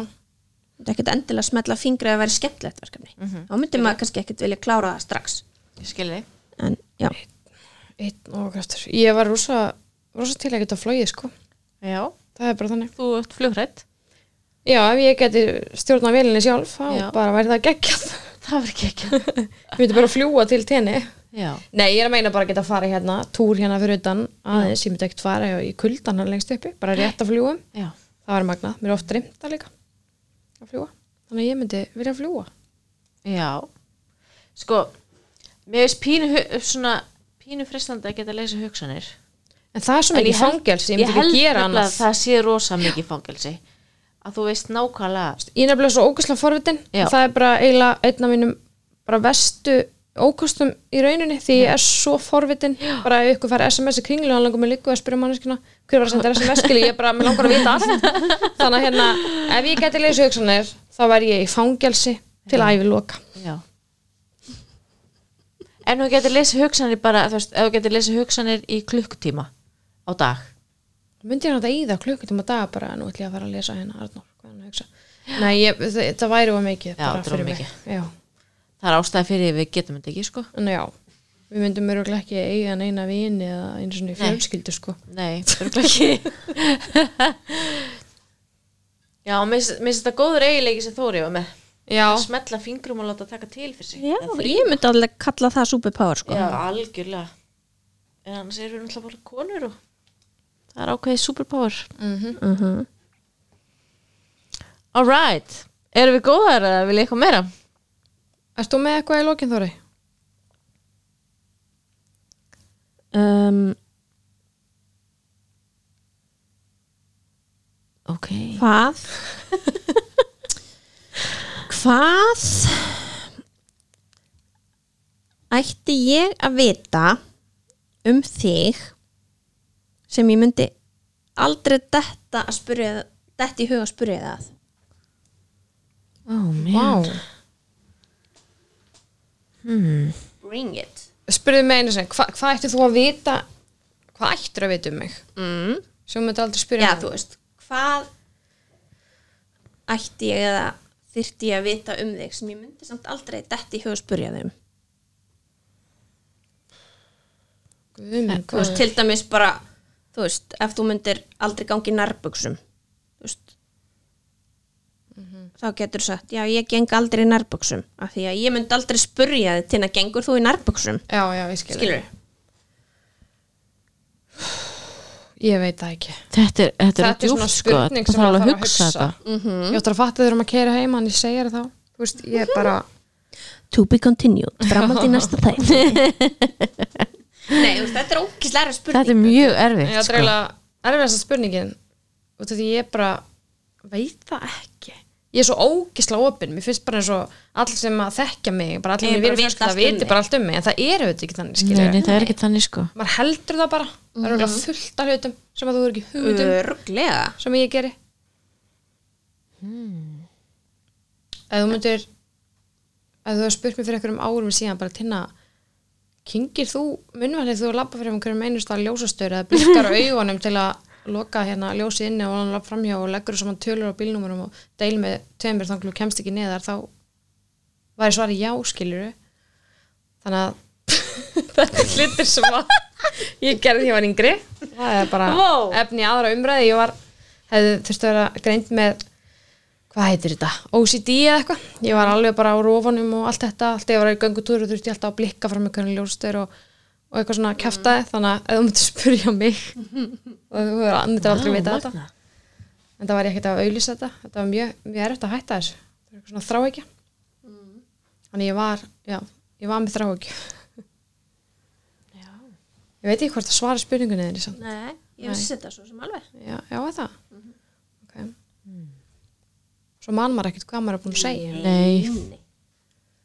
S4: Þetta er ekkert endilega smetla fingri að vera skemmtilegt verkefni.
S1: Mhm.
S4: Þá myndi maður kannski ekkert vilja klára það strax.
S1: Ég skil þig.
S4: En, já.
S2: einn og kraftur ég var rosa, rosa til að geta flogið sko
S1: Já.
S2: það er bara þannig
S1: Þú ert flugrætt.
S2: já, ef ég geti stjórnað velinni sjálf þá
S1: Já.
S2: bara væri það geggjað
S1: Það verður ekki ekki.
S2: ég myndi bara fljúa til tenni
S1: Já.
S2: nei, ég er að meina bara að geta farið hérna túr hérna fyrir utan aðeins, ég myndi ekkert fara í kuldan hann lengst uppi, bara rétt að fljúum
S1: Já.
S2: það var magnað, mér er oft dreymta líka að fljúa, þannig að ég myndi vilja fljúa
S1: Já Sko, mér veist pínu hu- svona, pínu fristandi að geta að leysa hugsanir
S2: en það er svo
S1: En
S2: mikið
S1: held-
S2: fangelsi, ég myndi ekki
S1: held
S2: gera
S1: nefnilega
S2: annað
S1: að það sé rosa mikið fangelsi að þú veist nákvæmlega
S2: ég er nefnilega svo ógæslega forvitin
S1: Já.
S2: það er bara eiginlega einn af mínum bara vestu ókostum í rauninni því ég er svo forvitin bara ef ykkur fær SMS í kringlu og hann langar mig líku að spyrja manneskina hver var að senda SMS skilji, ég bara, mér langar að vita allt þannig að hérna, ef ég geti leysu hugsanir þá væri ég í fangelsi til æviloka
S1: Já En þú getur lesið hugsanir bara, þú veist, ef þú getur lesið hugsanir í klukkutíma á dag
S2: myndi ég nátt að íða klukkutíma á dag bara nú ætlum ég að fara að lesa hérna Arnór, hvað er hann að hugsa Nei, ég, það, það væri of mikið
S1: Já,
S2: bara
S1: þetta er of
S2: fyrir mig. Já.
S1: Það er ástæði fyrir því við getum þetta ekki, sko
S2: En já, við myndum mörgulega ekki eiga neina vini eða einu svona fjölskyldu sko
S1: Nei, örugglega ekki Já, og mér finnst mér finnst þetta góður eiginleiki sem Þóri var með
S2: Já,
S1: að smetla fingrum og láta taka til fyrir sig
S3: Já,
S1: Það er
S3: ég myndi alveg kalla það superpower sko.
S1: Já, algjörlega En annars erum við náttúrulega bara konur og það er ákveðið superpower
S3: Uh -huh.
S1: Alright, erum við góðar að vilja eitthvað meira?
S2: ert þú með eitthvað í lokin Þóri?
S3: um,
S1: Ok
S3: Hvað? Hvað ætti ég að vita um þig sem ég myndi aldrei detta að spyrja detta í huga að spyrja það
S1: oh,
S2: Vá,
S4: Bring it
S2: spurðu mig einu sinni, hva, hvað ættir þú að vita hvað ættir að vita um mig
S4: mm.
S2: sem þetta aldrei spyrja
S4: Já,
S2: mig.
S4: þú veist, hvað ætti ég eða þyrfti ég að vita um þig sem ég myndi samt aldrei detti í huga að um? spurja þeim
S2: Guð minn
S4: þú
S2: góður.
S4: veist, til dæmis bara þú veist, ef þú myndir aldrei gangi nærbuksum þú veist þá getur sagt, já ég geng aldrei í nærbuksum af því að ég myndi aldrei spurja þið til að gengur þú í nærbuksum
S2: já, já, ég skilur,
S4: skilur,
S2: ég veit það ekki
S1: Þetta er, þetta er,
S2: þetta er svona
S1: djúpt, sko.
S2: spurning sem
S1: Það er alveg
S2: maður
S1: að
S2: þarf
S1: hugsa þetta
S2: ég ættir að fatta þér um að keira heima en ég segir þá, þú veist, ég bara
S3: To be continued, framhaldi næsta þætt
S4: nei, þú veist, þetta er ókislega spurning
S1: Þetta er mjög
S2: ég
S1: erfitt
S2: ættir
S1: sko.
S2: eiginlega erfiðast að spurningin og því ég bara veit það ekki ég er svo ógisla opinn, mér finnst bara eins og allir sem að þekkja mig, bara allir
S4: Ég
S2: mér
S4: bara
S2: verið
S4: veit
S2: fyrst það
S4: allt um
S2: viti
S4: mig.
S2: bara allt um mig en það eru þetta ekki þannig, skilur
S1: Nei, nei, það er ekki þannig sko
S2: maður heldur það bara,
S4: Mhm.
S2: það eru mm. fullt af hlutum sem að þú er ekki
S4: Mm.
S2: hugmyndum
S4: örglega
S2: sem ég geri ef þú myndir ef þú hefur spurt mér fyrir einhverjum árum síðan bara tinna kyngir þú munnvænið þú lappa fyrir einhverjum einust að ljósastöru eða blikkar augunum til að loka hérna ljósið inni og hann lappa framhjá og leggur saman tölur á bílnúmurum og deil með tveimur þannig að þú kemst ekki neðar þá væri svari já skiluru þannig að þetta er hlutir sem að ég gerði því að ég var yngri það er bara
S1: Vó.
S2: efni í aðra umræði ég var, hefði þurfti að vera greint með hvað heitir þetta, OCD eða eitthvað ég var alveg bara á rofunum og allt þetta allt ég var í göngutúru og þurfti ég alltaf að blikka fram einhvern ljóstur og, og eitthvað svona kjaftaði þannig að ef þú myndir spyrja mig og þú verður myndir aldrei
S1: Vá,
S2: vita þetta
S1: magnað.
S2: en það var ég ekkert að auðlýsa þetta þetta var mjög, mjög erfitt að hætta þessu það var eitthvað svona þrá ekki
S1: Mm.
S2: þannig ég var, já, ég var með þrá ekki ég veit ekki hvort að svara spurningunni þinni samt.
S4: nei, ég vissi þetta svo sem alveg
S2: já, já, er það
S1: Mhm.
S2: ok svo man maður ekkert hvað maður er búin að segja
S1: Nei,
S4: Nei.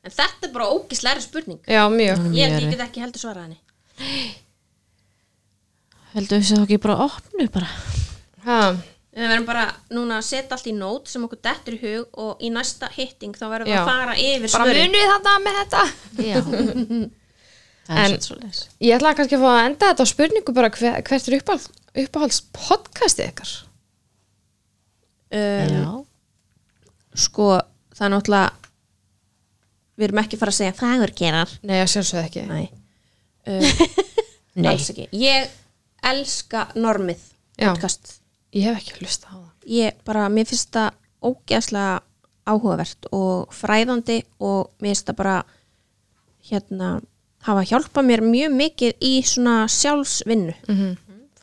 S4: en þetta er bara ókislega spurning
S2: já, mjög,
S4: ég held ég get ekki heldur svarað henni
S1: heldur þess að það ekki bara opnu bara
S2: ha,
S4: Við verðum bara núna að setja allt í nót sem okkur dettur í hug og í næsta hitting þá verðum við
S2: Já.
S4: að fara yfir
S2: bara
S4: svörin.
S2: munið þetta með þetta
S1: Já Það er
S2: En-
S1: svolítið svolítið
S2: ég ætla kannski að fá að enda þetta á spurningu bara hver, hvert er uppáhalds, uppáhalds podcastið ykkar
S4: Uh,
S1: Já,
S4: sko, það er náttúrulega við erum ekki að fara að segja fagurgerar.
S2: nei, ég sjálfsög ekki
S4: Nei. Uh,
S1: Nei.
S4: Alls ekki. Ég elska normið
S2: Já.
S4: podcast.
S2: ég hef ekki hlusta á það
S4: Ég bara, mér finnst það ógeðslega áhugavert og fræðandi og mér finnst það bara hérna hafa hjálpað mér mjög mikið í svona sjálfsvinnu.
S1: Mhm,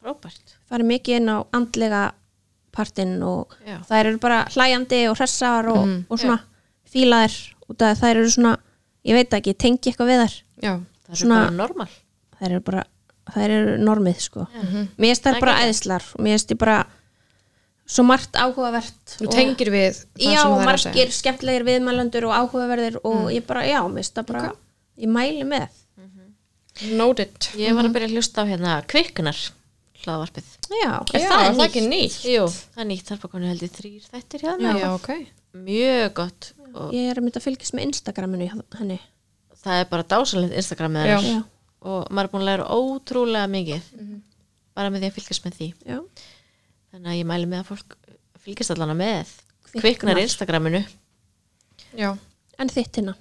S1: frábært
S4: farið mikið inn á andlega partinn og
S2: Já. Mhm.
S4: þær eru bara hlæjandi og hressar og, og svona fílaðir út að þær eru svona ég veit ekki, ég tengi eitthvað við þær
S2: já,
S1: Það er
S4: Svona-
S1: bara normal
S4: þær eru
S2: Mhm.
S4: bara, þær eru normið sko mér finnst þær bara æðislar og mér finnst ég bara svo margt áhugavert
S2: Þú
S4: og-
S2: tengir við það
S4: já,
S2: sem
S4: og
S2: það er að segja. Mhm.
S4: margir skemmtlegir viðmælandur og áhugaverðir og ég bara, já, mista bara ég mæli með
S2: Noted.
S1: Ég var að byrja að hlusta á hérna kviknar hlaðvarpið.
S2: Er
S4: já,
S2: já, það, er það ekki nýtt?
S1: Jú, það er nýtt, þar bara konu held ég þrýr þættir hjá
S2: Já,
S1: það.
S2: ok.
S1: Mjög gott og
S4: ég er að mynda að fylgjast með Instagraminu hjá henni
S1: það er bara dásalegt Instagram með
S2: Já. Mhm.
S1: hennar og maður er búin að læra ótrúlega mikið bara með því að fylgjast með því.
S4: já,
S1: Þannig að ég mæli með að fólk fylgjast allana með
S4: Kviknar.
S1: kviknar Instagraminu.
S2: Já.
S4: en þitt hérna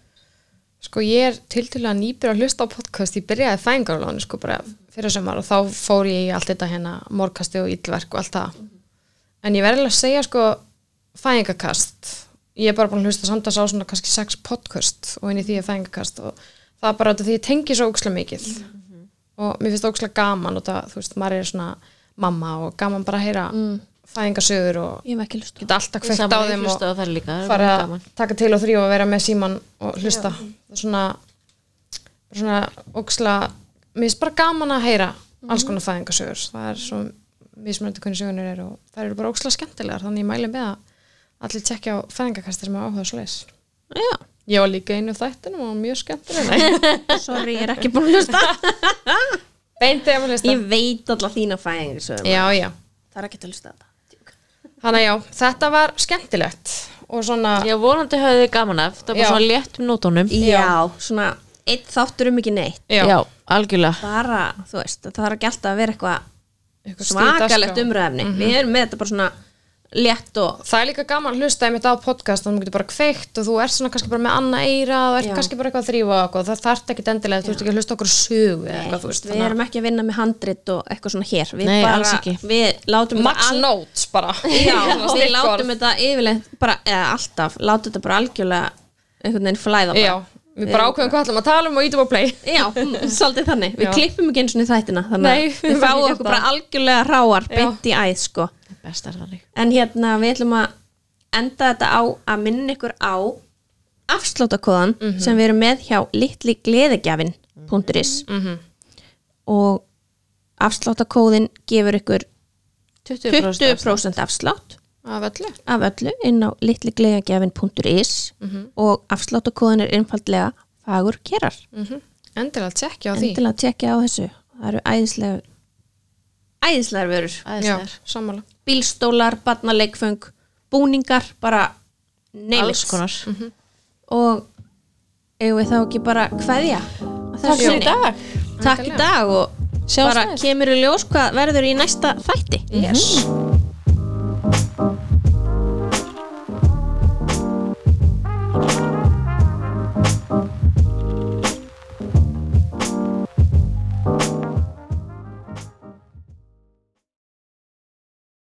S2: Sko ég er tiltölulega nýbyrð að hlusta á podcast, ég byrjaði fængarlónu sko bara fyrir sömar og þá fór ég í allt þetta hérna morgkasti og illverk og allt það. En ég verði alveg að segja sko fængakast, ég er bara búin að hlusta samtals á svona kannski sex podcast og inn í því er fængakast og það er bara út af því ég tengi svo ókslega mikið og mér finnst ókslega gaman og það, þú veist, maður er svona mamma og gaman bara að heyra mm. fæðingasögur og
S4: ég hef ekki lust
S2: geta alltaf kveikt á
S1: Saman ég
S2: þeim og
S1: hlusta á þær líka, það er
S2: fara
S1: mjög
S2: að
S1: gaman.
S2: taka til og þrjú og vera með síman og hlusta það er svona bara svona óksla mér finnst bara gaman að heyra
S1: Mhm.
S2: alls konar fæðingasögur það er svo mismunandi hvernig sögunir eru og það eru bara óksla skemmtilegar þannig ég mæli með að allir tekja á fæðingakastir sem er áhuga svo leis
S4: já,
S2: ég var líka einu þættinum og mjög skemmtileg
S4: sorry, ég er ekki búin að hlusta
S2: beint þegar maður hlusta
S4: ég veit alla þína fæðing það
S2: já já
S4: er ekki til að hlusta þetta
S2: þannig að já þetta var skemmtilegt og svona
S1: Já, vonandi höfðu þið gaman af, það var
S2: Já.
S1: bara svona létt um nótunum.
S4: já, svona, eitt þáttur um ekki neitt
S1: Já, algjörlega.
S4: bara, þú veist, það þarf ekki alltaf að vera eitthvað
S2: Eitthvað
S4: svakalegt
S2: skrýtaskrá.
S1: um
S4: umræðefni við erum með þetta bara svona létt og
S2: það er líka gaman að hlusta einmitt á podcast þannig að þú getur bara kveikt og þú ert svona kannski bara með annað eira og ert kannski bara eitthvað að þrýfa og eitthvað. það þarf ekki endilega, þú ert ekki að hlusta okkur sögu eða eitthvað, þú veist,
S4: við erum ekki að vinna með handrit og eitthvað svona hér við
S1: Nei, alls
S4: bara,
S1: ekki.
S4: við látum þetta
S2: max
S4: al-
S2: notes bara
S4: já,
S2: Svona
S4: við
S2: stikkorð.
S4: látum þetta yfirleitt bara, eða alltaf, látum þetta bara algjörlega einhvern veginn flæða bara.
S2: já, við bara ákveðum hvað ætlum að tala um og ítum að play
S4: já, mm, svolítið þannig, við
S2: Já.
S4: klippum ekki eins og þættina, þannig
S2: Nei,
S4: að
S2: við
S4: við fáum
S2: verðum
S4: okkur bara algjörlega ráar beint í æð, sko
S1: Best er þannig.
S4: en hérna við ætlum að enda þetta á að minna ykkur á afslótakóðan
S2: Mhm.
S4: sem við erum með hjá litligleðegjafin.is
S2: Mhm.
S4: og afslótakóðin gefur ykkur
S1: 20%.
S4: 20% afslátt
S2: af öllu
S4: af öllu inn á litligleðegjafin.is
S2: Mhm.
S4: og afslótakóðin er einfaldlega fagur kerar
S2: Mhm. endilega tjekkja á því
S4: endilega tekja á þessu það eru æðislega æðislegar vörur
S2: já,
S1: Æðislegar.
S2: sammála
S4: bílstólar, barnaleikföng búningar, bara neymis
S1: Alls konar.
S4: og eigum við þá ekki bara kveðja á þessu sinni?
S2: dag
S4: takk í dag og bara kemur í ljós hvað verður í næsta þætti
S2: yes.